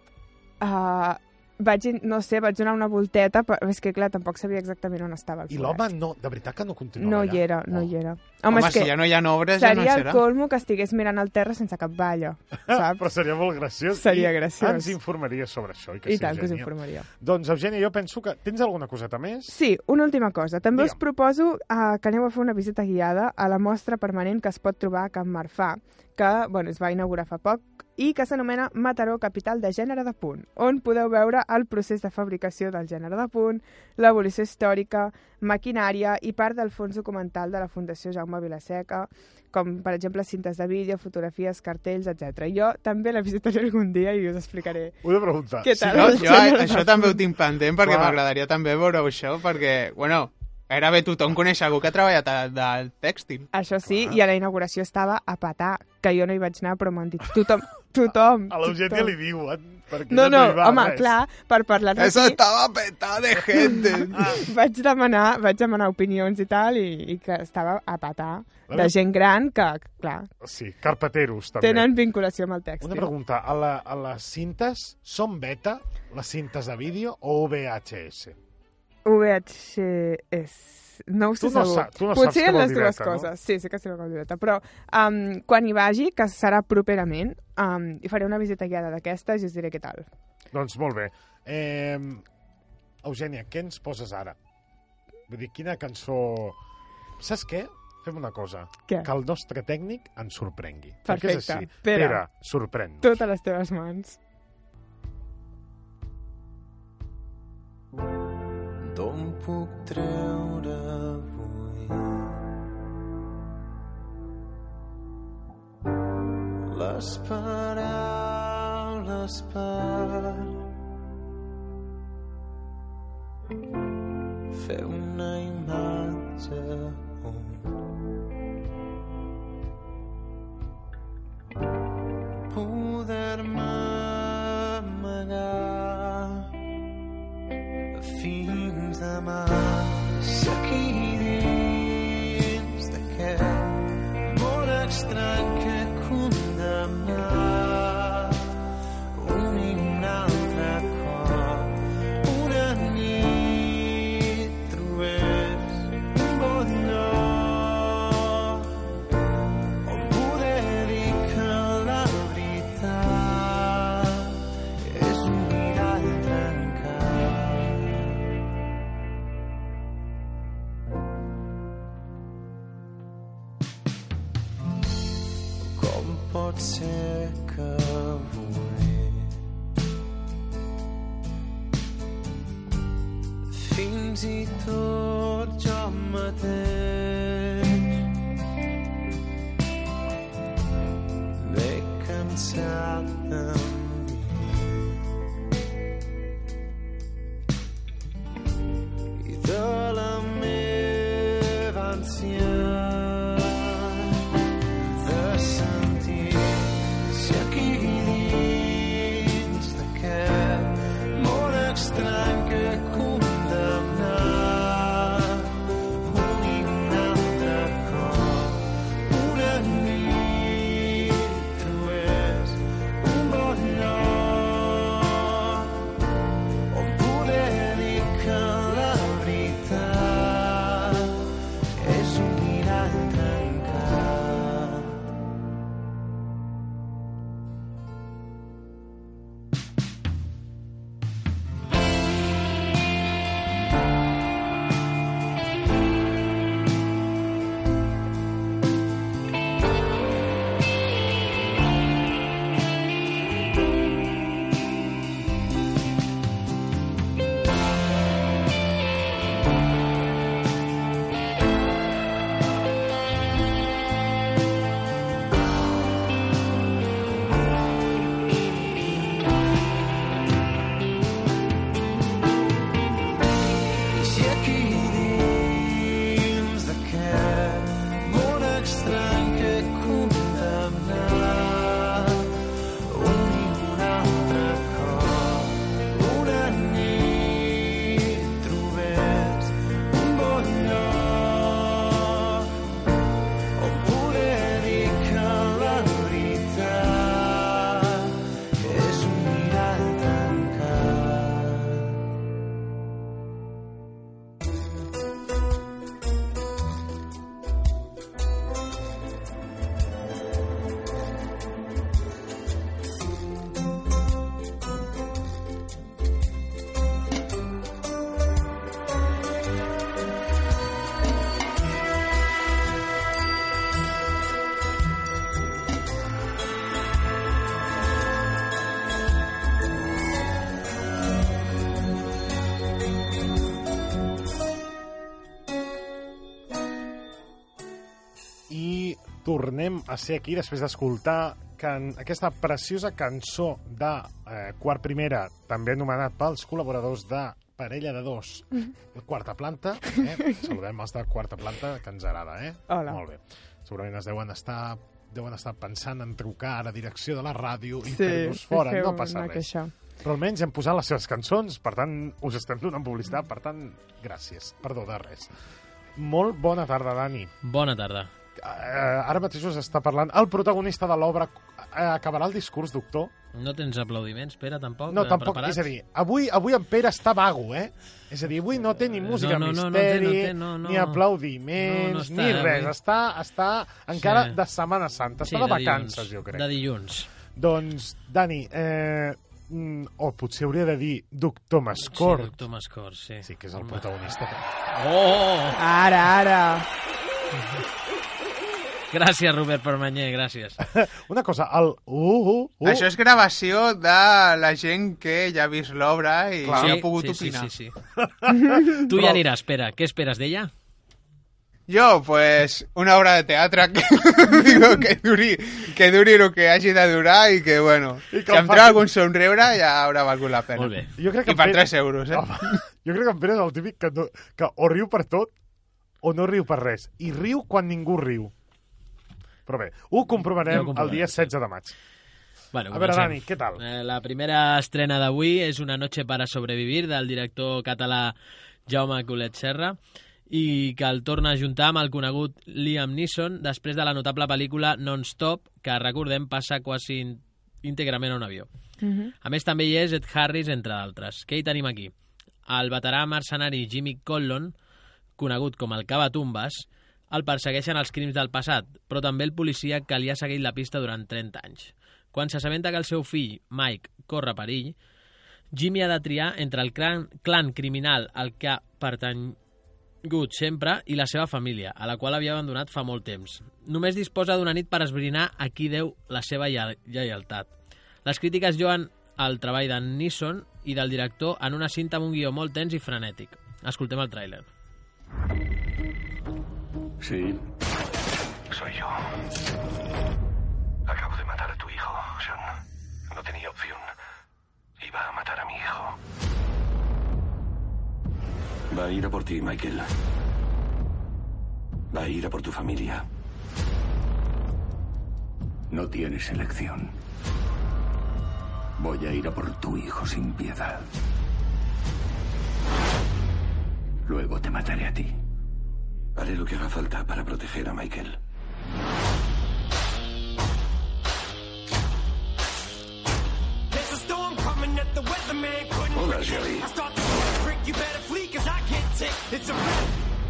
Speaker 3: Uh, vaig, in- no sé, vaig donar una volteta, però és que clar, tampoc sabia exactament on estava el
Speaker 1: I
Speaker 3: forat.
Speaker 1: l'home no, de veritat que no Oh. continua
Speaker 3: No
Speaker 1: allà.
Speaker 3: hi era, no hi era.
Speaker 4: Home,
Speaker 3: Home, és
Speaker 4: si
Speaker 3: que
Speaker 4: ja no hi ha obres, ja no en
Speaker 3: seria el
Speaker 4: serà.
Speaker 3: colmo que estigués mirant al terra sense cap balla,
Speaker 1: Però
Speaker 3: saps?
Speaker 1: seria molt graciós.
Speaker 3: Seria
Speaker 1: I
Speaker 3: graciós.
Speaker 1: Ens informaria sobre això. I, que
Speaker 3: I
Speaker 1: sí,
Speaker 3: tant, que us
Speaker 1: Eugènia?
Speaker 3: informaria.
Speaker 1: Doncs, Eugènia, jo penso que... Tens alguna coseta més?
Speaker 3: Sí, una última cosa. També
Speaker 1: Digue'm.
Speaker 3: us proposo eh, que aneu a fer una visita guiada a la mostra permanent que es pot trobar a Can Marfà, que bueno, es va inaugurar fa poc, i que s'anomena Mataró Capital de Gènere de Punt, on podeu veure el procés de fabricació del gènere de punt, l'evolució històrica, maquinària i part del fons documental de la Fundació Jaume Vilaseca, com, per exemple, cintes de vídeo, fotografies, cartells, etc. Jo també la visitaré algun dia i us explicaré.
Speaker 1: Ho he de preguntar.
Speaker 3: Què tal?
Speaker 4: No,
Speaker 3: El
Speaker 4: jo
Speaker 3: gènere
Speaker 4: això
Speaker 3: de
Speaker 4: també ho
Speaker 3: punt.
Speaker 4: tinc pendent perquè
Speaker 1: Clar.
Speaker 4: m'agradaria també veure-ho això perquè, bueno, gairebé tothom coneix algú que ha treballat a- del tèxtil.
Speaker 3: Això sí, i a la inauguració estava a petar, que jo no hi vaig anar, però m'han dit tothom, tothom.
Speaker 1: A l'Eugènia
Speaker 3: tothom.
Speaker 1: li diuen, perquè
Speaker 3: No,
Speaker 1: no
Speaker 3: no,
Speaker 1: hi va
Speaker 3: home,
Speaker 1: res.
Speaker 3: clar, per parlar
Speaker 4: Eso
Speaker 3: d'aquí
Speaker 4: estaba petado de gente.
Speaker 1: Ah,
Speaker 3: vaig demanar, vaig demanar opinions i tal, i, i que estava a petar de gent gran que, clar,
Speaker 1: Sí, carpeteros, també.
Speaker 3: tenen vinculació amb el text.
Speaker 1: Una pregunta, a, la, a les cintes són beta, les cintes de vídeo, o VHS?
Speaker 3: VHS... No ho sé
Speaker 1: Tu no
Speaker 3: segur.
Speaker 1: sa- tu no saps
Speaker 3: Potser
Speaker 1: què vol
Speaker 3: les
Speaker 1: dir
Speaker 3: dues
Speaker 1: directe, no?
Speaker 3: coses. Sí, sí que sé com directe. Però um, quan hi vagi, que serà properament, um, hi faré una visita guiada d'aquestes i us diré què tal.
Speaker 1: Doncs molt bé. Eh, Eugènia, què ens poses ara? Vull dir, quina cançó... Saps què? Fem una cosa.
Speaker 3: Què?
Speaker 1: Que el nostre tècnic ens sorprengui. Perquè és
Speaker 3: Perfecte.
Speaker 1: així.
Speaker 3: Pere.
Speaker 1: Pere sorprèn-nos.
Speaker 3: Tot a les teves mans.
Speaker 6: D'on puc treure avui les paraules per fer una imatge on poder-me amagar fins demà. Si aquí dins d'aquest món estrany que condemna unim un altre cop una nit trobés un bon por cerca voy. Fins i tot jo mateix m'he cansat de mi. i de la meva ansietat de sentir si aquí dins d'aquest món estrany que condemnar un i un altre cop una nit tu és un bon lloc on poder dir que la veritat és un mirall trencat Si aquí dins d'aquest món estrany que condemnar un i un altre cop una nit trobés un bon lloc on poder dir que la veritat és un mirall tancat
Speaker 1: i tornem a ser aquí després d'escoltar can... aquesta preciosa cançó de eh, Quart Primera, també anomenat pels col·laboradors de Parella de Dos,
Speaker 3: Mm-hmm.
Speaker 1: Quarta Planta. Eh? Saludem els de Quarta Planta, que ens agrada, eh?
Speaker 3: Hola.
Speaker 1: Molt bé. Segurament es deuen estar deuen estar pensant en trucar a la direcció de la ràdio i
Speaker 3: Sí,
Speaker 1: fer-nos
Speaker 3: sí,
Speaker 1: fora,
Speaker 3: fer
Speaker 1: no
Speaker 3: una
Speaker 1: passa res.
Speaker 3: queixa.
Speaker 1: Però almenys hem posat les seves cançons, per tant, us estem donant publicitat, per tant, gràcies. Perdó, de res. Molt bona tarda, Dani
Speaker 7: Bona tarda.
Speaker 1: eh, ara mateix us està parlant el protagonista de l'obra eh, acabarà el discurs, doctor?
Speaker 7: No tens aplaudiments, Pere, tampoc?
Speaker 1: No,
Speaker 7: Eh,
Speaker 1: tampoc,
Speaker 7: preparats?
Speaker 1: és a dir, avui, avui en Pere està vago, eh? És a dir, avui no té ni
Speaker 7: No,
Speaker 1: música
Speaker 7: Eh, no, no, no té,
Speaker 1: misteri,
Speaker 7: no té, no, no.
Speaker 1: ni aplaudiments,
Speaker 7: No, no està,
Speaker 1: ni res.
Speaker 7: avui.
Speaker 1: Està, està encara
Speaker 7: Sí.
Speaker 1: de Setmana Santa, està de vacances,
Speaker 7: dilluns,
Speaker 1: jo crec.
Speaker 7: De dilluns.
Speaker 1: Doncs, Dani, eh, mm, o potser hauria de dir doctor
Speaker 7: Sí,
Speaker 1: Mascort,
Speaker 7: doctor Mascort, sí.
Speaker 1: sí, que és el protagonista.
Speaker 7: Oh!
Speaker 3: Ara, ara.
Speaker 7: Gràcies, Robert Permanyer, gràcies.
Speaker 1: Una cosa, el... Uh, uh, uh,
Speaker 4: Això és gravació de la gent que ja ha vist l'obra i
Speaker 7: Sí,
Speaker 4: ja ha pogut
Speaker 7: sí,
Speaker 4: opinar.
Speaker 7: Sí, sí, sí. tu ja aniràs, Pere. Què esperes d'ella?
Speaker 4: Jo, pues, una obra de teatre que, digo, que duri, que duri el que hagi de durar i que, bueno,
Speaker 1: I que
Speaker 4: si
Speaker 1: el
Speaker 4: em treu
Speaker 1: faci.
Speaker 4: algun somriure ja haurà valgut la pena.
Speaker 7: Molt bé.
Speaker 1: Jo crec que
Speaker 4: I per
Speaker 1: en
Speaker 4: 3 euros, eh?
Speaker 1: Home, jo crec que en Pere és el típic que, no, que o riu per tot o no riu per res. I riu quan ningú riu. Però bé, ho
Speaker 7: Ja ho
Speaker 1: comprovarem el
Speaker 7: comprovarem,
Speaker 1: dia
Speaker 7: sí.
Speaker 1: 16 de maig.
Speaker 7: Bueno,
Speaker 1: A veure,
Speaker 7: comencem.
Speaker 1: Dani, què tal?
Speaker 7: Eh, la primera estrena d'avui és Una noche para sobrevivir, del director català Jaume Colet Serra, i que el torna a juntar amb el conegut Liam Neeson després de la notable pel·lícula Non-Stop, que, recordem, passa quasi in- íntegrament a un avió.
Speaker 3: Mhm.
Speaker 7: A més, també hi és Ed Harris, entre d'altres. Què hi tenim aquí? El veterà mercenari Jimmy Conlon, conegut com el Cavatumbes, el persegueixen els crims del passat, però també el policia que li ha seguit la pista durant 30 anys. Quan s'assabenta que el seu fill, Mike, corre perill, Jimmy ha de triar entre el clan, clan criminal al que pertany Good sempre i la seva família, a la qual havia abandonat fa molt temps. Només disposa d'una nit per esbrinar a qui deu la seva lle- lleialtat. Les crítiques lloen el treball d'en Neeson i del director en una cinta amb un guió molt tens i frenètic. Escoltem el tràiler.
Speaker 8: Sí. Soy yo. Acabo de matar a tu hijo, Sean. No tenía opción. Iba a matar a mi hijo. Va a ir a por ti, Michael. Va a ir a por tu familia. No tienes elección. Voy a ir a por tu hijo sin piedad. Luego te mataré a ti. Haré lo que haga falta para proteger a Michael.
Speaker 6: There's a storm coming at the weatherman couldn't
Speaker 8: Hola,
Speaker 6: predict.
Speaker 8: Jerry.
Speaker 6: I start to sweat, prick, you better flee 'cause I can't take It's a wrap,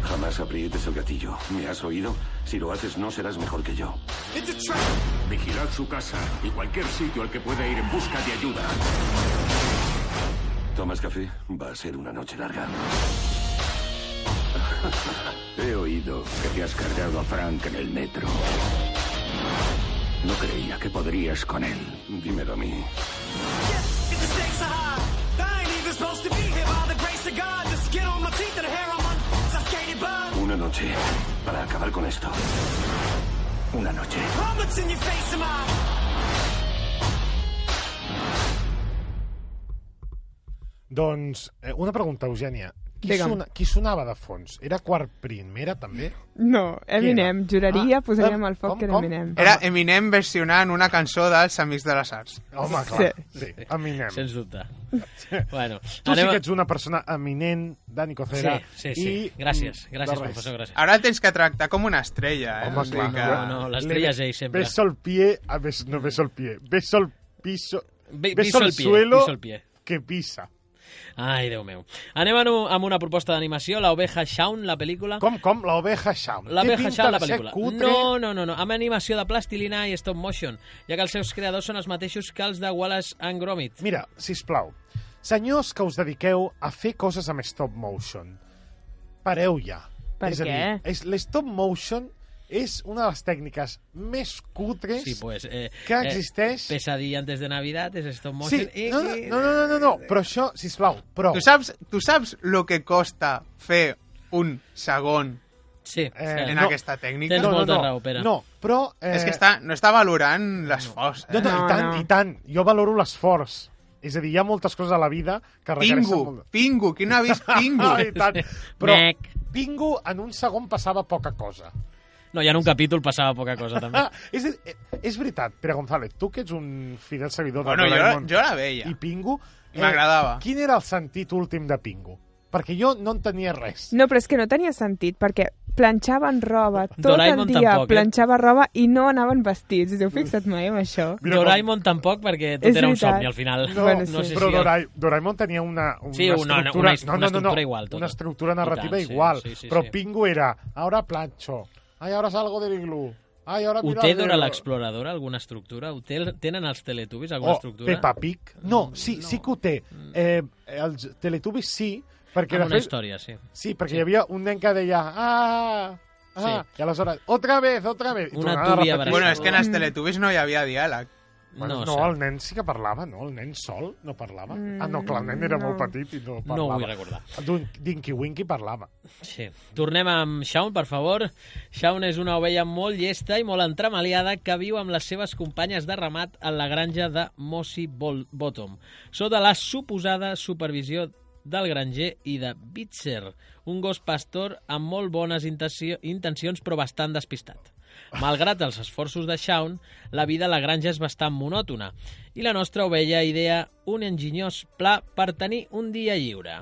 Speaker 8: Jamás aprietes el gatillo. ¿Me has oído? Si lo haces, no serás mejor que yo.
Speaker 6: it's a trap.
Speaker 9: Vigilad su casa y cualquier sitio al que pueda ir en busca de ayuda.
Speaker 8: ¿Tomas café? Va a ser una noche larga. He oído que te has cargado a Frank en el metro. No creía que podrías con él. Dímelo a mí.
Speaker 6: If the stakes are high, I ain't even supposed to be here by the grace of God. The skin on my teeth and the hair on my I skated by.
Speaker 8: Una noche para acabar con esto. Una noche.
Speaker 6: How much in your face am I?
Speaker 1: Doncs, eh, una pregunta, Eugènia. Qui,
Speaker 3: Digue'm.
Speaker 1: sona, qui sonava de fons? Era quart primera, també?
Speaker 3: No, Eminem. Juraria,
Speaker 1: Ah,
Speaker 3: posaríem
Speaker 1: em-
Speaker 3: el foc
Speaker 1: com,
Speaker 3: que era
Speaker 1: com?
Speaker 3: Eminem.
Speaker 4: Era Eminem versionant una cançó dels Amics de les Arts.
Speaker 1: Home, clar, sí, Eminem.
Speaker 7: Sens dubte. Bueno,
Speaker 1: Tu sí que ets una persona eminent, Dani Cocera.
Speaker 7: Sí, sí, sí.
Speaker 1: i-
Speaker 7: Gràcies,
Speaker 1: mm,
Speaker 7: gràcies,
Speaker 1: de res.
Speaker 7: professor, gràcies.
Speaker 4: Ara el tens que tractar com una estrella, eh?
Speaker 1: Home, clar.
Speaker 7: No, no, l'estrella és ell, sempre.
Speaker 1: Beso el pie, a bes, no beso el pie, beso el piso,
Speaker 7: Be-
Speaker 1: beso
Speaker 7: beso
Speaker 1: el
Speaker 7: el pie,
Speaker 1: suelo
Speaker 7: beso el pie.
Speaker 1: que pisa.
Speaker 7: Ai, Déu meu. Anem amb un- amb una proposta d'animació, La oveja Shaun, la pel·lícula.
Speaker 1: Com, com, l'oveja Shaun.
Speaker 7: La
Speaker 1: Té
Speaker 7: Beja
Speaker 1: pinta
Speaker 7: Shaw, la
Speaker 1: de ser
Speaker 7: pel·lícula.
Speaker 1: cutre.
Speaker 7: No, no, no, no, amb animació de plastilina i stop motion, ja que els seus creadors són els mateixos que els de Wallace and Gromit.
Speaker 1: Mira, si us plau, senyors que us dediqueu a fer coses amb stop motion, pareu ja.
Speaker 3: Per
Speaker 1: és
Speaker 3: què?
Speaker 1: a dir, és- l'stop motion és una de les tècniques més cutres
Speaker 7: Sí, pues, eh,
Speaker 1: que existeix.
Speaker 7: Eh, pesadilla antes de Navidad, és stop motion.
Speaker 1: Sí,
Speaker 7: i-
Speaker 1: no, no,
Speaker 7: i-
Speaker 1: no, no, no, no, però això, sisplau, prou.
Speaker 4: eh, Tu saps, tu saps lo que costa fer un segon
Speaker 7: Sí,
Speaker 1: Eh,
Speaker 7: sí.
Speaker 4: en
Speaker 1: no.
Speaker 4: aquesta tècnica?
Speaker 7: Tens
Speaker 1: no, no,
Speaker 7: molta
Speaker 1: no,
Speaker 7: raó, Pere.
Speaker 1: No, però... Eh,
Speaker 4: És que està, no està valorant l'esforç,
Speaker 1: No,
Speaker 4: eh?
Speaker 1: no,
Speaker 3: No,
Speaker 1: i tant,
Speaker 3: no.
Speaker 1: i tant. Jo valoro l'esforç. És a dir, hi ha moltes coses a la vida que requereixen...
Speaker 4: Pingu,
Speaker 1: molt-
Speaker 4: Pingu, qui no ha vist Pingu?
Speaker 1: Ah, i tant. Però
Speaker 7: Mec.
Speaker 1: Pingu en un segon passava poca cosa.
Speaker 7: No, ja en un capítol passava poca cosa, també.
Speaker 1: Ah, és, a dir, eh, és veritat, Pere González, tu que ets un fidel seguidor de
Speaker 4: Bueno, jo-
Speaker 1: Doraemon
Speaker 4: jo la veia.
Speaker 1: i Pingu...
Speaker 4: M'agradava.
Speaker 1: Quin era el sentit últim de Pingu? Perquè jo no en tenia res.
Speaker 3: No, però és que no tenia sentit, perquè planxaven roba tot
Speaker 7: Doraemon
Speaker 3: el dia,
Speaker 7: tampoc, eh?
Speaker 3: planxava roba i no anaven vestits. Us heu fixat mai en això?
Speaker 1: Mira
Speaker 7: Doraemon tampoc, perquè tot
Speaker 3: És
Speaker 7: era un
Speaker 3: veritat.
Speaker 7: somni al final.
Speaker 1: No,
Speaker 3: Bueno,
Speaker 7: no
Speaker 3: sí.
Speaker 7: sé
Speaker 1: però
Speaker 7: si...
Speaker 1: Dora Doraemon tenia una, una
Speaker 7: Sí, una- una-
Speaker 1: estructura...
Speaker 7: una- una estructura igual, tota.
Speaker 1: Una estructura narrativa
Speaker 7: I tant, sí,
Speaker 1: igual.
Speaker 7: sí, sí,
Speaker 1: però
Speaker 7: sí.
Speaker 1: Pingu era, ahora plancho, ay, ahora salgo del iglú, ay, ahora
Speaker 7: Ho
Speaker 1: mira...
Speaker 7: té
Speaker 1: el
Speaker 7: Dora
Speaker 1: dedo".
Speaker 7: l'exploradora, alguna estructura? Ho té, tenen els teletubbies, alguna
Speaker 1: O
Speaker 7: estructura?
Speaker 1: Oh, Peppa Pig. No, sí, sí que ho té. Eh, els Teletubbies sí, perquè...
Speaker 7: Amb
Speaker 1: de
Speaker 7: una
Speaker 1: fet-
Speaker 7: història, sí.
Speaker 1: Sí, perquè hi havia un nen que deia... Ah, ah,
Speaker 7: Sí.
Speaker 1: I aleshores, otra vez, otra vez. I
Speaker 7: Una
Speaker 1: tornava a
Speaker 7: túbia
Speaker 1: repetir.
Speaker 4: Bueno, és que en els teletubbies no hi havia diàleg.
Speaker 1: Bueno,
Speaker 7: no,
Speaker 1: no,
Speaker 7: sé.
Speaker 1: el nen sí que parlava, no? El nen sol no parlava? ah, no, clar, el nen era
Speaker 3: no.
Speaker 1: molt petit i no
Speaker 7: no ho
Speaker 1: parlava.
Speaker 7: vull recordar.
Speaker 1: Dun- Dinky Winky parlava.
Speaker 7: Sí. Tornem amb Shaun, per favor. Shaun és una ovella molt llesta i molt entremaliada que viu amb les seves companyes de ramat en la granja de Mossy Bol- Bottom, sota la suposada supervisió del granger i de Bitzer, un gos pastor amb molt bones intenció- intencions però bastant despistat. Malgrat els esforços de Shaun, la vida a la granja és bastant monòtona i la nostra ovella idea un enginyós pla per tenir un dia lliure.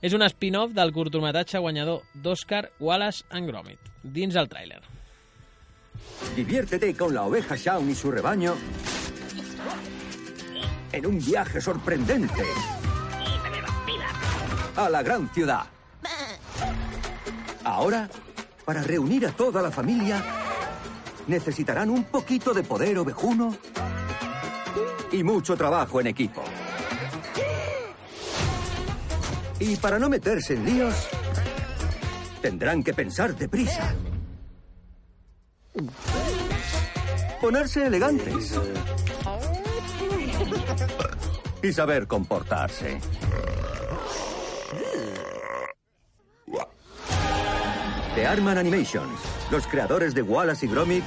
Speaker 7: És un spin-off del curtometatge guanyador d'Oscar Wallace and Gromit, dins el tràiler.
Speaker 10: Diviértete con la oveja Shaun y su rebaño en un viaje sorprendente a la gran ciudad. Ahora, para reunir a toda la familia, necesitarán un poquito de poder ovejuno y mucho trabajo en equipo. Y para no meterse en líos,
Speaker 8: Tendrán que pensar deprisa. Ponerse elegantes. Y saber comportarse. The Arman Animations, los creadores de Wallace y Gromit,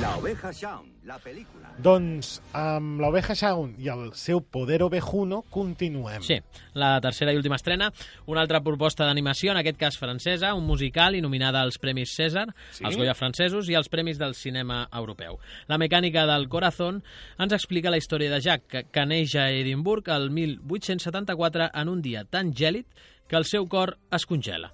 Speaker 8: La Oveja Shaun, la película.
Speaker 1: Doncs amb l'Oveja Shaun i el seu poder ovejuno continuem.
Speaker 7: Sí, la tercera i última estrena, una altra proposta d'animació, en aquest cas francesa, un musical i nominada als Premis César,
Speaker 1: Sí?
Speaker 7: sí? als Goya francesos i als Premis del Cinema Europeu. La mecànica del Corazón ens explica la història de Jack, que, que neix a Edimburg el 1874 en un dia tan gèlid que el seu cor es congela.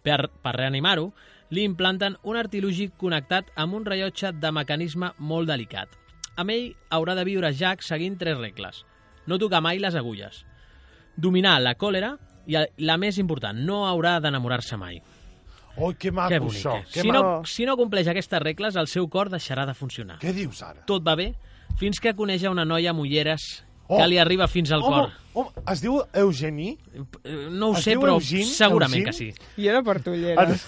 Speaker 7: Per, per reanimar-ho, li implanten un artilugi connectat amb un rellotge de mecanisme molt delicat. Amb ell haurà de viure Jack seguint tres regles. No tocar mai les agulles. Dominar la còlera i el- la més important, no haurà d'enamorar-se mai.
Speaker 1: Oh, que maco
Speaker 7: que bonic.
Speaker 1: això.
Speaker 7: eh?
Speaker 1: Que
Speaker 7: Si
Speaker 1: maco.
Speaker 7: no, si no compleix aquestes regles, el seu cor deixarà de funcionar.
Speaker 1: Què dius ara?
Speaker 7: Tot va bé fins que coneix a una noia amb ulleres
Speaker 1: Oh.
Speaker 7: que li arriba fins al
Speaker 1: Home,
Speaker 7: cor.
Speaker 1: home, es diu Eugenie?
Speaker 7: Eh, No ho
Speaker 1: Es
Speaker 7: sé,
Speaker 1: diu
Speaker 7: però
Speaker 1: Eugene?
Speaker 7: segurament que
Speaker 1: Eugene?
Speaker 7: sí.
Speaker 3: Jo no porto
Speaker 1: Ah,
Speaker 3: ulleres.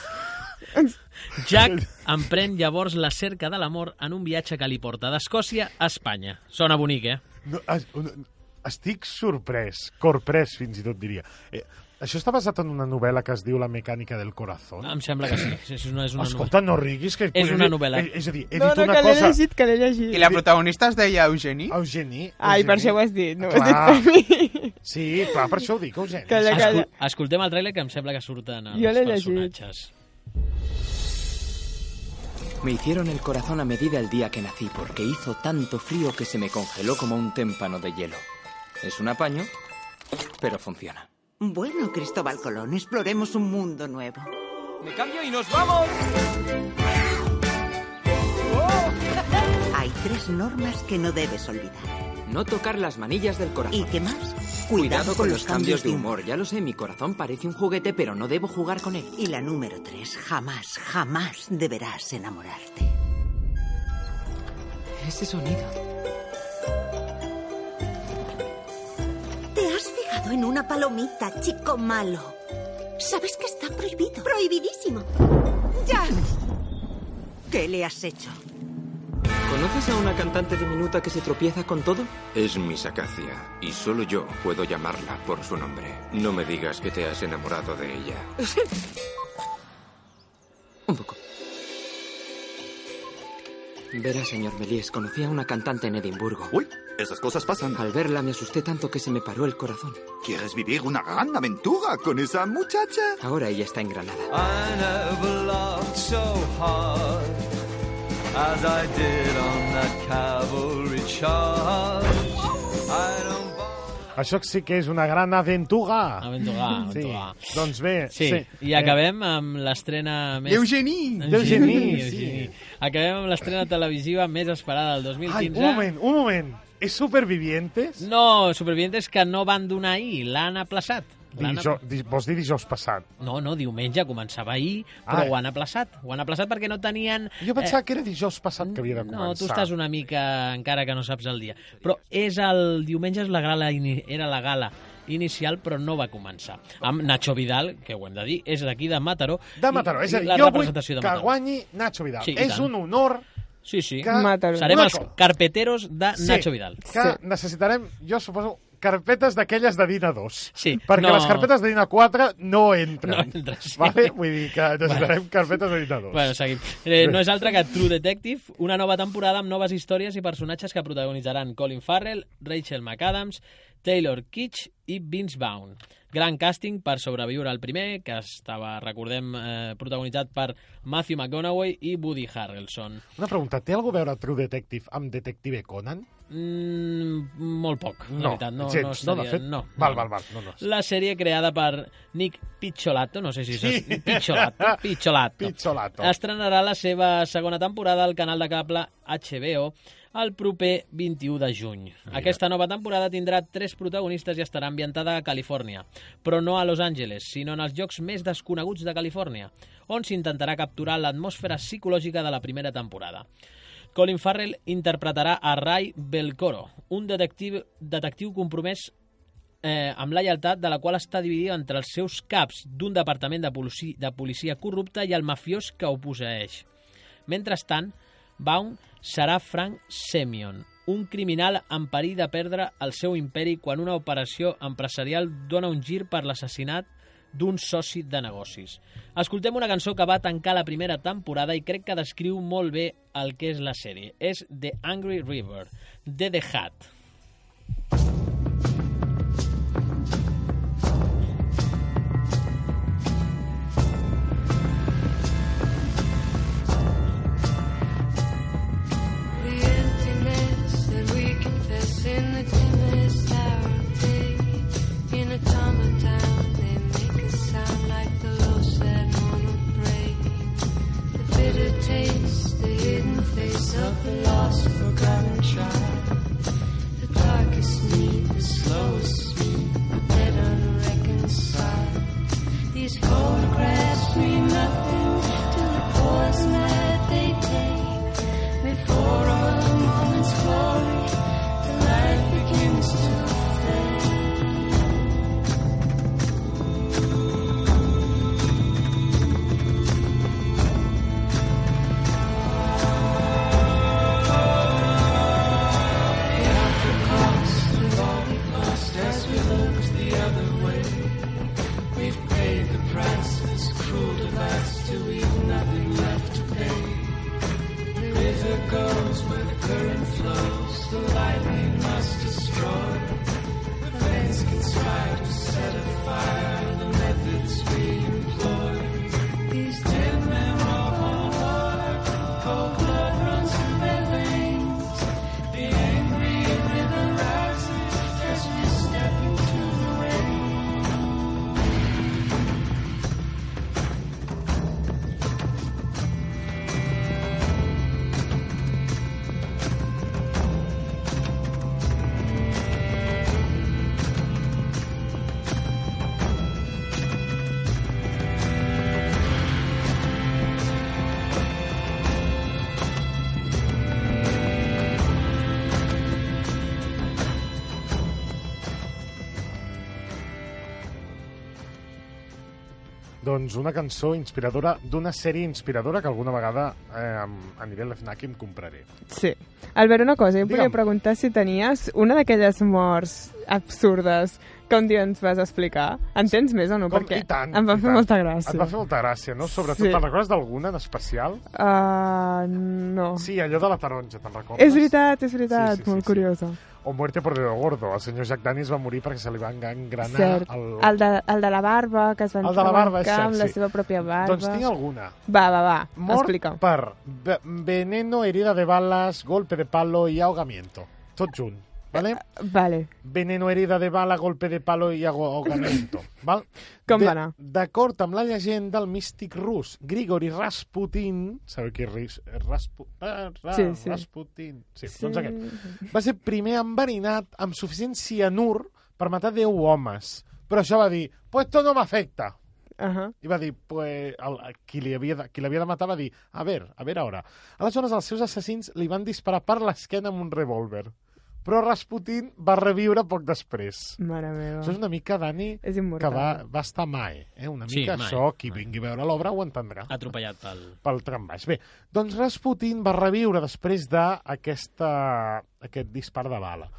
Speaker 7: Jack emprèn llavors la cerca de l'amor en un viatge que li porta d'Escòcia a Espanya. Sona bonic, eh?
Speaker 1: No, es, un- estic sorprès, corprès fins i tot diria. Eh, això està basat en una novel·la que es diu La mecànica del corazón?
Speaker 7: Em sembla que sí. sí, sí, no Ah, és una
Speaker 1: Escolta, no riguis. Que
Speaker 7: És una novel·la.
Speaker 1: Eh, És a dir, he
Speaker 3: No,
Speaker 1: dit
Speaker 3: no,
Speaker 1: una
Speaker 3: que l'he
Speaker 1: cosa...
Speaker 3: llegit, que l'he llegit.
Speaker 4: I la protagonista es deia Eugenie?
Speaker 1: Eugeni.
Speaker 3: Ai,
Speaker 1: Eugeni.
Speaker 3: per això ho has dit, no ho has dit
Speaker 1: Clar.
Speaker 3: per mi.
Speaker 1: Sí, clar, per això ho dic, Eugeni.
Speaker 3: Calla,
Speaker 7: novel·la.
Speaker 3: calla.
Speaker 7: Escol escoltem el trailer que em sembla que surten els
Speaker 3: Jo l'he llegit.
Speaker 7: personatges.
Speaker 5: Me hicieron el corazón a medida el día que nací porque hizo tanto frío que se me congeló como un témpano de hielo. Es un apaño, pero funciona.
Speaker 11: Bueno, Cristóbal Colón, exploremos un mundo nuevo.
Speaker 5: Me cambio y nos vamos.
Speaker 11: Hay tres normas que no debes olvidar.
Speaker 5: No tocar las manillas del corazón.
Speaker 11: ¿Y qué más?
Speaker 5: Cuidado con los cambios de humor. Ya lo sé, mi corazón parece un juguete, pero no debo jugar con él.
Speaker 11: Y la número tres, jamás, jamás deberás enamorarte.
Speaker 5: Ese sonido.
Speaker 11: ¿Te has fijado en una palomita, chico malo? ¿Sabes que está prohibido? Prohibidísimo. ¡Ya! ¿Qué le has hecho?
Speaker 5: ¿Conoces a una cantante diminuta que se tropieza con todo?
Speaker 12: Es Miss Acacia, y solo yo puedo llamarla por su nombre. No me digas que te has enamorado de ella.
Speaker 5: Un poco. Verá, señor Melies, conocí a una cantante en Edimburgo.
Speaker 13: Uy, esas cosas pasan.
Speaker 5: Al verla me asusté tanto que se me paró el corazón.
Speaker 13: ¿Quieres vivir una gran aventura con esa muchacha?
Speaker 5: Ahora ella está en Granada.
Speaker 6: I never laughed so hard as I did on that cavalry charge. I don't
Speaker 1: Això sí que és una gran aventura.
Speaker 7: Aventura, aventura.
Speaker 1: Sí. Doncs bé, Eh,
Speaker 7: Sí, sí, i acabem amb l'estrena més...
Speaker 1: D'Eugenie!
Speaker 7: Eugenie,
Speaker 1: D'Eugenie,
Speaker 7: Eugenie. Acabem amb l'estrena televisiva més esperada del
Speaker 1: Eh, ai,
Speaker 7: 2015.
Speaker 1: un moment, un moment. És Supervivientes?
Speaker 7: No, Supervivientes que no van donar ahir, l'han aplaçat. L'han
Speaker 1: Dijo, di, vols dir dijous passat?
Speaker 7: No, no, diumenge començava ahir, però
Speaker 1: Ah.
Speaker 7: ho han aplaçat. Ho han aplaçat perquè no tenien...
Speaker 1: Jo pensava eh, que era dijous passat que havia de començar.
Speaker 7: No, tu estàs una mica, encara que no saps el dia. Però és el diumenge és la gala, ini- era la gala inicial, però no va començar. Amb Nacho Vidal, que ho hem de dir, és d'aquí de Mataró.
Speaker 1: De Mataró,
Speaker 7: I-
Speaker 1: és a dir,
Speaker 7: la
Speaker 1: jo vull
Speaker 7: representació de
Speaker 1: que
Speaker 7: Mataró.
Speaker 1: guanyi Nacho Vidal.
Speaker 7: Sí, i
Speaker 1: és
Speaker 7: tant.
Speaker 1: un honor
Speaker 7: Sí, sí.
Speaker 1: que... Mataró.
Speaker 7: Serem els carpeteros de
Speaker 1: Sí,
Speaker 7: Nacho Vidal.
Speaker 1: Que necessitarem, jo suposo, carpetes d'aquelles de DIN a 2.
Speaker 7: Sí,
Speaker 1: Perquè
Speaker 7: no.
Speaker 1: les carpetes de DIN a 4 no entren.
Speaker 7: No entra, sí.
Speaker 1: Vale? Vull dir que necessitarem carpetes de DIN a 2.
Speaker 7: Bueno, seguim. Eh, no és altre que True Detective, una nova temporada amb noves històries i personatges que protagonitzaran Colin Farrell, Rachel McAdams, Taylor Kitsch i Vince Vaughn. Gran càsting per sobreviure al primer, que estava, recordem, eh, protagonitzat per Matthew McConaughey i Woody Harrelson.
Speaker 1: Una pregunta, té alguna a veure True Detective amb Detective Conan?
Speaker 7: Mm, molt poc, la veritat. No,
Speaker 1: gens,
Speaker 7: no,
Speaker 1: no,
Speaker 7: estaria,
Speaker 1: de fet,
Speaker 7: no,
Speaker 1: Val, val, val, no, no.
Speaker 7: La sèrie creada per Nick Picciolato, no sé si és... Picciolato, Picciolato.
Speaker 1: Picciolato.
Speaker 7: Estrenarà la seva segona temporada al canal de cable HBO el proper 21 de juny. Aquesta nova temporada tindrà tres protagonistes i estarà ambientada a Califòrnia, però no a Los Angeles, sinó en els llocs més desconeguts de Califòrnia, on s'intentarà capturar l'atmosfera psicològica de la primera temporada. Colin Farrell interpretarà a Ray Belcoro, un detectiu, detectiu compromès eh, amb la lleialtat de la qual està dividida entre els seus caps d'un departament de policia, de policia corrupta i el mafiós que ho posseeix. Mentrestant, Baum serà Frank Semion, un criminal en perill de perdre el seu imperi quan una operació empresarial dona un gir per l'assassinat d'un soci de negocis. Escoltem una cançó que va tancar la primera temporada i crec que descriu molt bé el que és la sèrie. És The Angry River, de The Hat.
Speaker 6: The emptiness that we confess in the dimmest hour of day. In a automaton, they make a sound like the low sad moan of prey. The bitter taste, the hidden face of the lost, forgotten child. The darkest need, the slowest sleep, the dead unreconciled. These photographs mean nothing to the pause that they take. Before a moment's glory, the light begins to fade. The awful cost of all we lost as we looked the other way. We've paid the price of this cruel device till we've nothing left to pay. The river goes where the current flows, the lightning must destroy. The flames conspire to set afire the methods we employ. These dead men are on fire, cold blood runs through their veins. The angry river rises as we step into the rain.
Speaker 1: Doncs una cançó inspiradora d'una sèrie inspiradora que alguna vegada eh, aniré a la FNAC i em compraré.
Speaker 3: Sí. Albert, una cosa, jo em volia
Speaker 1: Digue'm.
Speaker 3: preguntar si tenies una d'aquelles morts absurdes que un dia ens vas explicar. En tens més o no?
Speaker 1: Com,
Speaker 3: Perquè
Speaker 1: I tant.
Speaker 3: em va
Speaker 1: i
Speaker 3: fer
Speaker 1: tant.
Speaker 3: molta gràcia.
Speaker 1: Et va fer molta gràcia, no? Sobretot,
Speaker 3: Sí.
Speaker 1: sí. te'n recordes d'alguna en especial?
Speaker 3: Uh, no.
Speaker 1: Sí, allò de la taronja, te'n recordes?
Speaker 3: és veritat, és veritat, sí, sí, molt sí, curiosa.
Speaker 1: O Muerte por dedo gordo. El senyor Jack Daniels va morir perquè se li va engranar
Speaker 3: Cert.
Speaker 1: el...
Speaker 3: El de, el de la barba, que es va
Speaker 1: El de la barba, és
Speaker 3: entrebancar
Speaker 1: cert,
Speaker 3: amb la
Speaker 1: sí.
Speaker 3: seva pròpia barba.
Speaker 1: Doncs tinc alguna.
Speaker 3: Va, va, va,
Speaker 1: Mort
Speaker 3: explica.
Speaker 1: per ve- veneno, herida de balas, golpe de palo i ahogamiento. Tot junt, vale?
Speaker 3: Vale.
Speaker 1: Veneno, herida de bala, golpe de palo i aho- ahogamiento. Val?
Speaker 3: Com
Speaker 1: De-
Speaker 3: va anar?
Speaker 1: D'acord amb la llegenda, el místic rus Grigori Rasputin... Sabeu qui és Raspu... ah, Ra-
Speaker 6: Sí, sí.
Speaker 1: Rasputin? Sí,
Speaker 6: Sí.
Speaker 1: doncs aquest. Va ser primer enverinat amb suficient cianur per matar 10 homes. Però això va dir, pues esto no m'afecta.
Speaker 3: Uh -huh.
Speaker 1: I va dir, pues, el, qui li havia de, qui l'havia de matar va dir, a veure, a veure ara. Aleshores, els seus assassins li van disparar per l'esquena amb un revòlver. Però Rasputin va reviure poc després.
Speaker 3: Mare meva.
Speaker 1: Això és una mica, Dani,
Speaker 3: És
Speaker 1: que
Speaker 3: immortal.
Speaker 1: va, va estar mai. Eh? Una
Speaker 7: Sí,
Speaker 1: mica
Speaker 7: Ah. mai,
Speaker 1: això, qui vingui a veure l'obra ho entendrà
Speaker 7: Atropellat pel...
Speaker 1: pel tram baix. Bé, doncs Rasputin va reviure després d'aquest dispar de bala.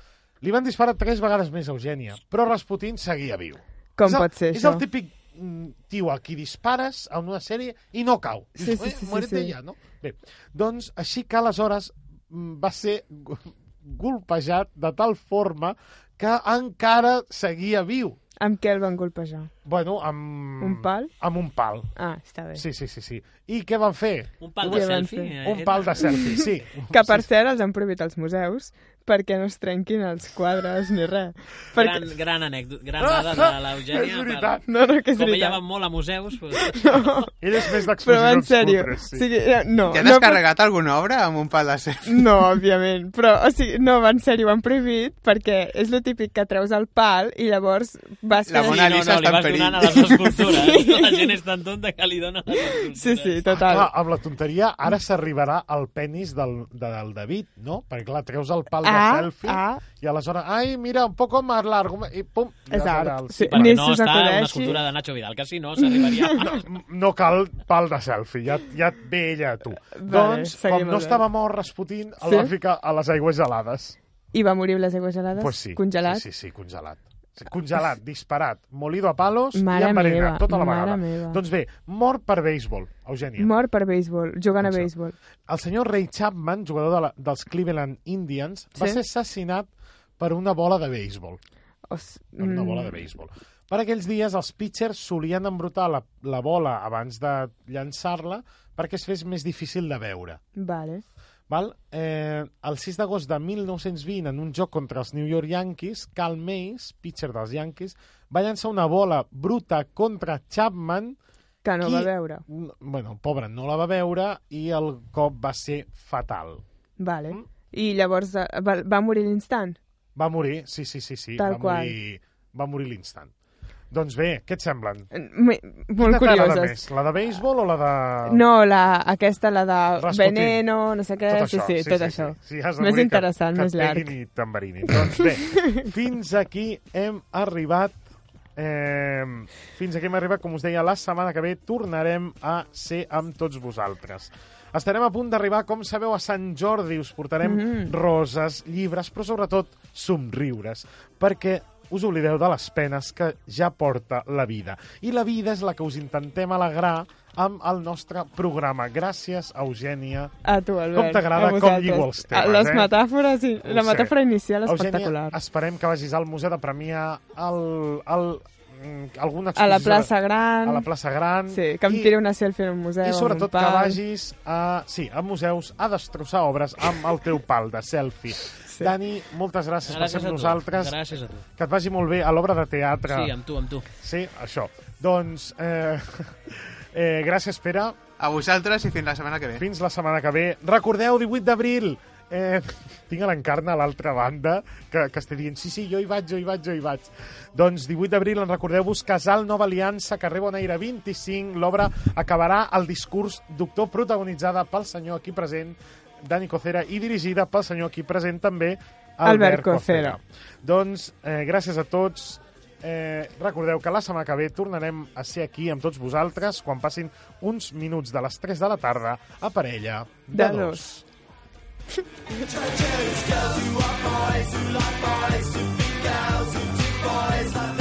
Speaker 1: Li van disparar tres vegades més a Eugènia, però Rasputin seguia viu.
Speaker 3: Com
Speaker 1: és el,
Speaker 3: pot ser,
Speaker 1: és
Speaker 3: això?
Speaker 1: És el típic mm, tio a qui dispares en una sèrie i no cau.
Speaker 3: Sí,
Speaker 1: Dius,
Speaker 3: sí,
Speaker 1: "Eh,
Speaker 3: sí, sí,
Speaker 1: muérete
Speaker 3: sí.
Speaker 1: ja, no? Bé, doncs així que aleshores mm, va ser go- golpejat de tal forma que encara seguia viu.
Speaker 3: Amb què el van colpejar?
Speaker 1: Bueno, amb...
Speaker 3: Un pal?
Speaker 1: Amb un pal.
Speaker 3: Ah, està bé.
Speaker 1: Sí, sí, sí, sí. I què van fer?
Speaker 7: Un
Speaker 3: pal de Què van selfie?
Speaker 7: Eh,
Speaker 3: fer?
Speaker 1: Un pal de selfie, sí.
Speaker 3: Que, per cert, els han prohibit als museus perquè no es trenquin els quadres ni res. Perquè...
Speaker 7: Gran, gran anècdota, gran dada
Speaker 1: Ah,
Speaker 7: de l'Eugènia.
Speaker 3: És veritat. No, no, que és
Speaker 7: Com
Speaker 3: veritat.
Speaker 7: ella va molt a museus... Pues...
Speaker 3: No.
Speaker 1: Ell és més
Speaker 3: Però en sèrio, o sigui, eh, no,
Speaker 4: Ja
Speaker 3: no,
Speaker 4: t'has carregat alguna obra amb un pal de selfie?
Speaker 3: No, òbviament, però, o sigui, no, en sèrio, ho han prohibit perquè és lo típic que treus el pal i llavors vas
Speaker 4: La
Speaker 3: fent-
Speaker 4: Mona Lisa està en
Speaker 7: donant a les escultures. Sí. La gent és tan tonta que li dona les escultures.
Speaker 3: Sí, sí, total.
Speaker 1: Clar, amb la tonteria ara s'arribarà al penis del, de- del David, no? Perquè, clar, treus el pal de
Speaker 3: Ah,
Speaker 1: selfie
Speaker 3: ah.
Speaker 1: i aleshores, ai, mira, un poco más largo, i pum, ja
Speaker 3: Exacte.
Speaker 1: serà el-
Speaker 3: Sí,
Speaker 7: Perquè no està una escultura de Nacho Vidal, que si no s'arribaria...
Speaker 1: No, no cal pal de selfie, ja, ja et ve ella a tu.
Speaker 3: Vale,
Speaker 1: doncs,
Speaker 3: seguim
Speaker 1: com
Speaker 3: amb
Speaker 1: no
Speaker 3: el-
Speaker 1: estava mort Rasputin, el
Speaker 3: Sí?
Speaker 1: va ficar a les aigües gelades.
Speaker 3: I va morir amb les aigües gelades?
Speaker 1: Pues sí,
Speaker 3: Congelat?
Speaker 1: Sí, sí, sí congelat. Sí, Congelat, disparat, molido a palos
Speaker 3: Mare
Speaker 1: i envenenat,
Speaker 3: meva,
Speaker 1: tota la
Speaker 3: mare
Speaker 1: vegada.
Speaker 3: meva.
Speaker 1: Doncs bé, mort per béisbol, Eugènia.
Speaker 3: Mort per béisbol, jugant a
Speaker 1: Exacte.
Speaker 3: béisbol.
Speaker 1: El senyor Ray Chapman, jugador de la, dels Cleveland Indians, va
Speaker 3: Sí.
Speaker 1: ser assassinat per una bola de béisbol.
Speaker 3: Os...
Speaker 1: Per una bola de béisbol. Per aquells dies, els pitchers solien embrutar la, la bola abans de llançar-la perquè es fes més difícil de veure.
Speaker 3: mm, Vale.
Speaker 1: Val? Eh, el 6 d'agost de 1920, en un joc contra els New York Yankees, Cal Mays, pitcher dels Yankees, va llançar una bola bruta contra Chapman.
Speaker 3: Que no va veure.
Speaker 1: No, Bueno, pobre, no la va veure i el cop va ser fatal.
Speaker 3: Vale.
Speaker 7: Mm.
Speaker 3: I llavors eh, va, va morir l'instant?
Speaker 1: Va morir, sí, sí, sí, sí.
Speaker 3: Tal
Speaker 1: va
Speaker 3: qual.
Speaker 1: Morir, va morir l'instant. Doncs bé, què et semblen?
Speaker 3: Molt
Speaker 1: Quina t'agrada
Speaker 3: curioses.
Speaker 1: més, la de béisbol o la de...
Speaker 3: No, la, aquesta, la de
Speaker 1: Rasputin.
Speaker 3: Veneno, no sé què,
Speaker 1: Tot
Speaker 3: sí,
Speaker 1: això,
Speaker 3: sí,
Speaker 1: sí,
Speaker 3: tot
Speaker 1: sí,
Speaker 3: això.
Speaker 1: sí. Sí, has de morir
Speaker 3: més
Speaker 1: que-
Speaker 3: interessant,
Speaker 1: que et
Speaker 3: més llarg.
Speaker 1: peguin i tambarinin. Doncs bé, fins aquí hem arribat. Eh, fins aquí hem arribat, com us deia, la setmana que ve tornarem a ser amb tots vosaltres. Estarem a punt d'arribar, com sabeu, a Sant Jordi. Us portarem
Speaker 14: Mhm.
Speaker 3: Mm-hmm.
Speaker 1: roses, llibres, però sobretot somriures, perquè us oblideu de les penes que ja porta la vida. I la vida és la que us intentem alegrar amb el nostre programa. Gràcies, Eugènia.
Speaker 3: A tu, Albert.
Speaker 1: Com t'agrada
Speaker 3: a
Speaker 1: com
Speaker 3: vosaltres.
Speaker 1: lligo els temes,
Speaker 3: Les
Speaker 1: eh?
Speaker 3: metàfores, sí.
Speaker 1: Ho
Speaker 3: la
Speaker 1: sé.
Speaker 3: metàfora inicial
Speaker 1: Eugènia,
Speaker 3: espectacular.
Speaker 1: esperem que vagis al Museu de Premià, al, al, mm, alguna
Speaker 3: A la
Speaker 1: exposició de-
Speaker 3: plaça gran.
Speaker 1: A la plaça Gran.
Speaker 3: Sí, que em
Speaker 1: I-
Speaker 3: tiri una selfie en un museu.
Speaker 1: I
Speaker 3: amb
Speaker 1: sobretot
Speaker 3: un
Speaker 1: que
Speaker 3: pal.
Speaker 1: vagis a, sí, a museus a destrossar obres amb el teu pal de selfie. Sí. Dani, moltes gràcies,
Speaker 7: Gràcies
Speaker 1: per ser
Speaker 7: a
Speaker 1: amb
Speaker 7: tu.
Speaker 1: nosaltres.
Speaker 7: Gràcies a tu.
Speaker 1: Que et vagi molt bé a l'obra de teatre.
Speaker 7: Sí, amb tu, amb tu.
Speaker 1: Sí, això. Doncs, eh, eh, gràcies, Pere.
Speaker 4: A vosaltres i fins la setmana que ve.
Speaker 1: Fins la setmana que ve. Recordeu, 18 d'abril, eh, tinc a l'Encarna a l'altra banda que, que està dient, sí, sí, jo hi vaig, jo hi vaig, jo hi vaig. Doncs 18 d'abril, en recordeu-vos, Casal Nova Aliança, carrer Bonaire 25, l'obra acabarà el discurs doctor protagonitzada pel senyor aquí present, Dani Cocera, i dirigida pel senyor aquí present també, Albert,
Speaker 3: Albert Cocera.
Speaker 1: Doncs eh, gràcies a tots. Eh, recordeu que la setmana que ve tornarem a ser aquí amb tots vosaltres quan passin uns minuts de les 3 de la tarda a parella de,
Speaker 3: De
Speaker 1: dos.
Speaker 3: dos.
Speaker 6: Girls who are boys, who like boys, who think girls, who do boys like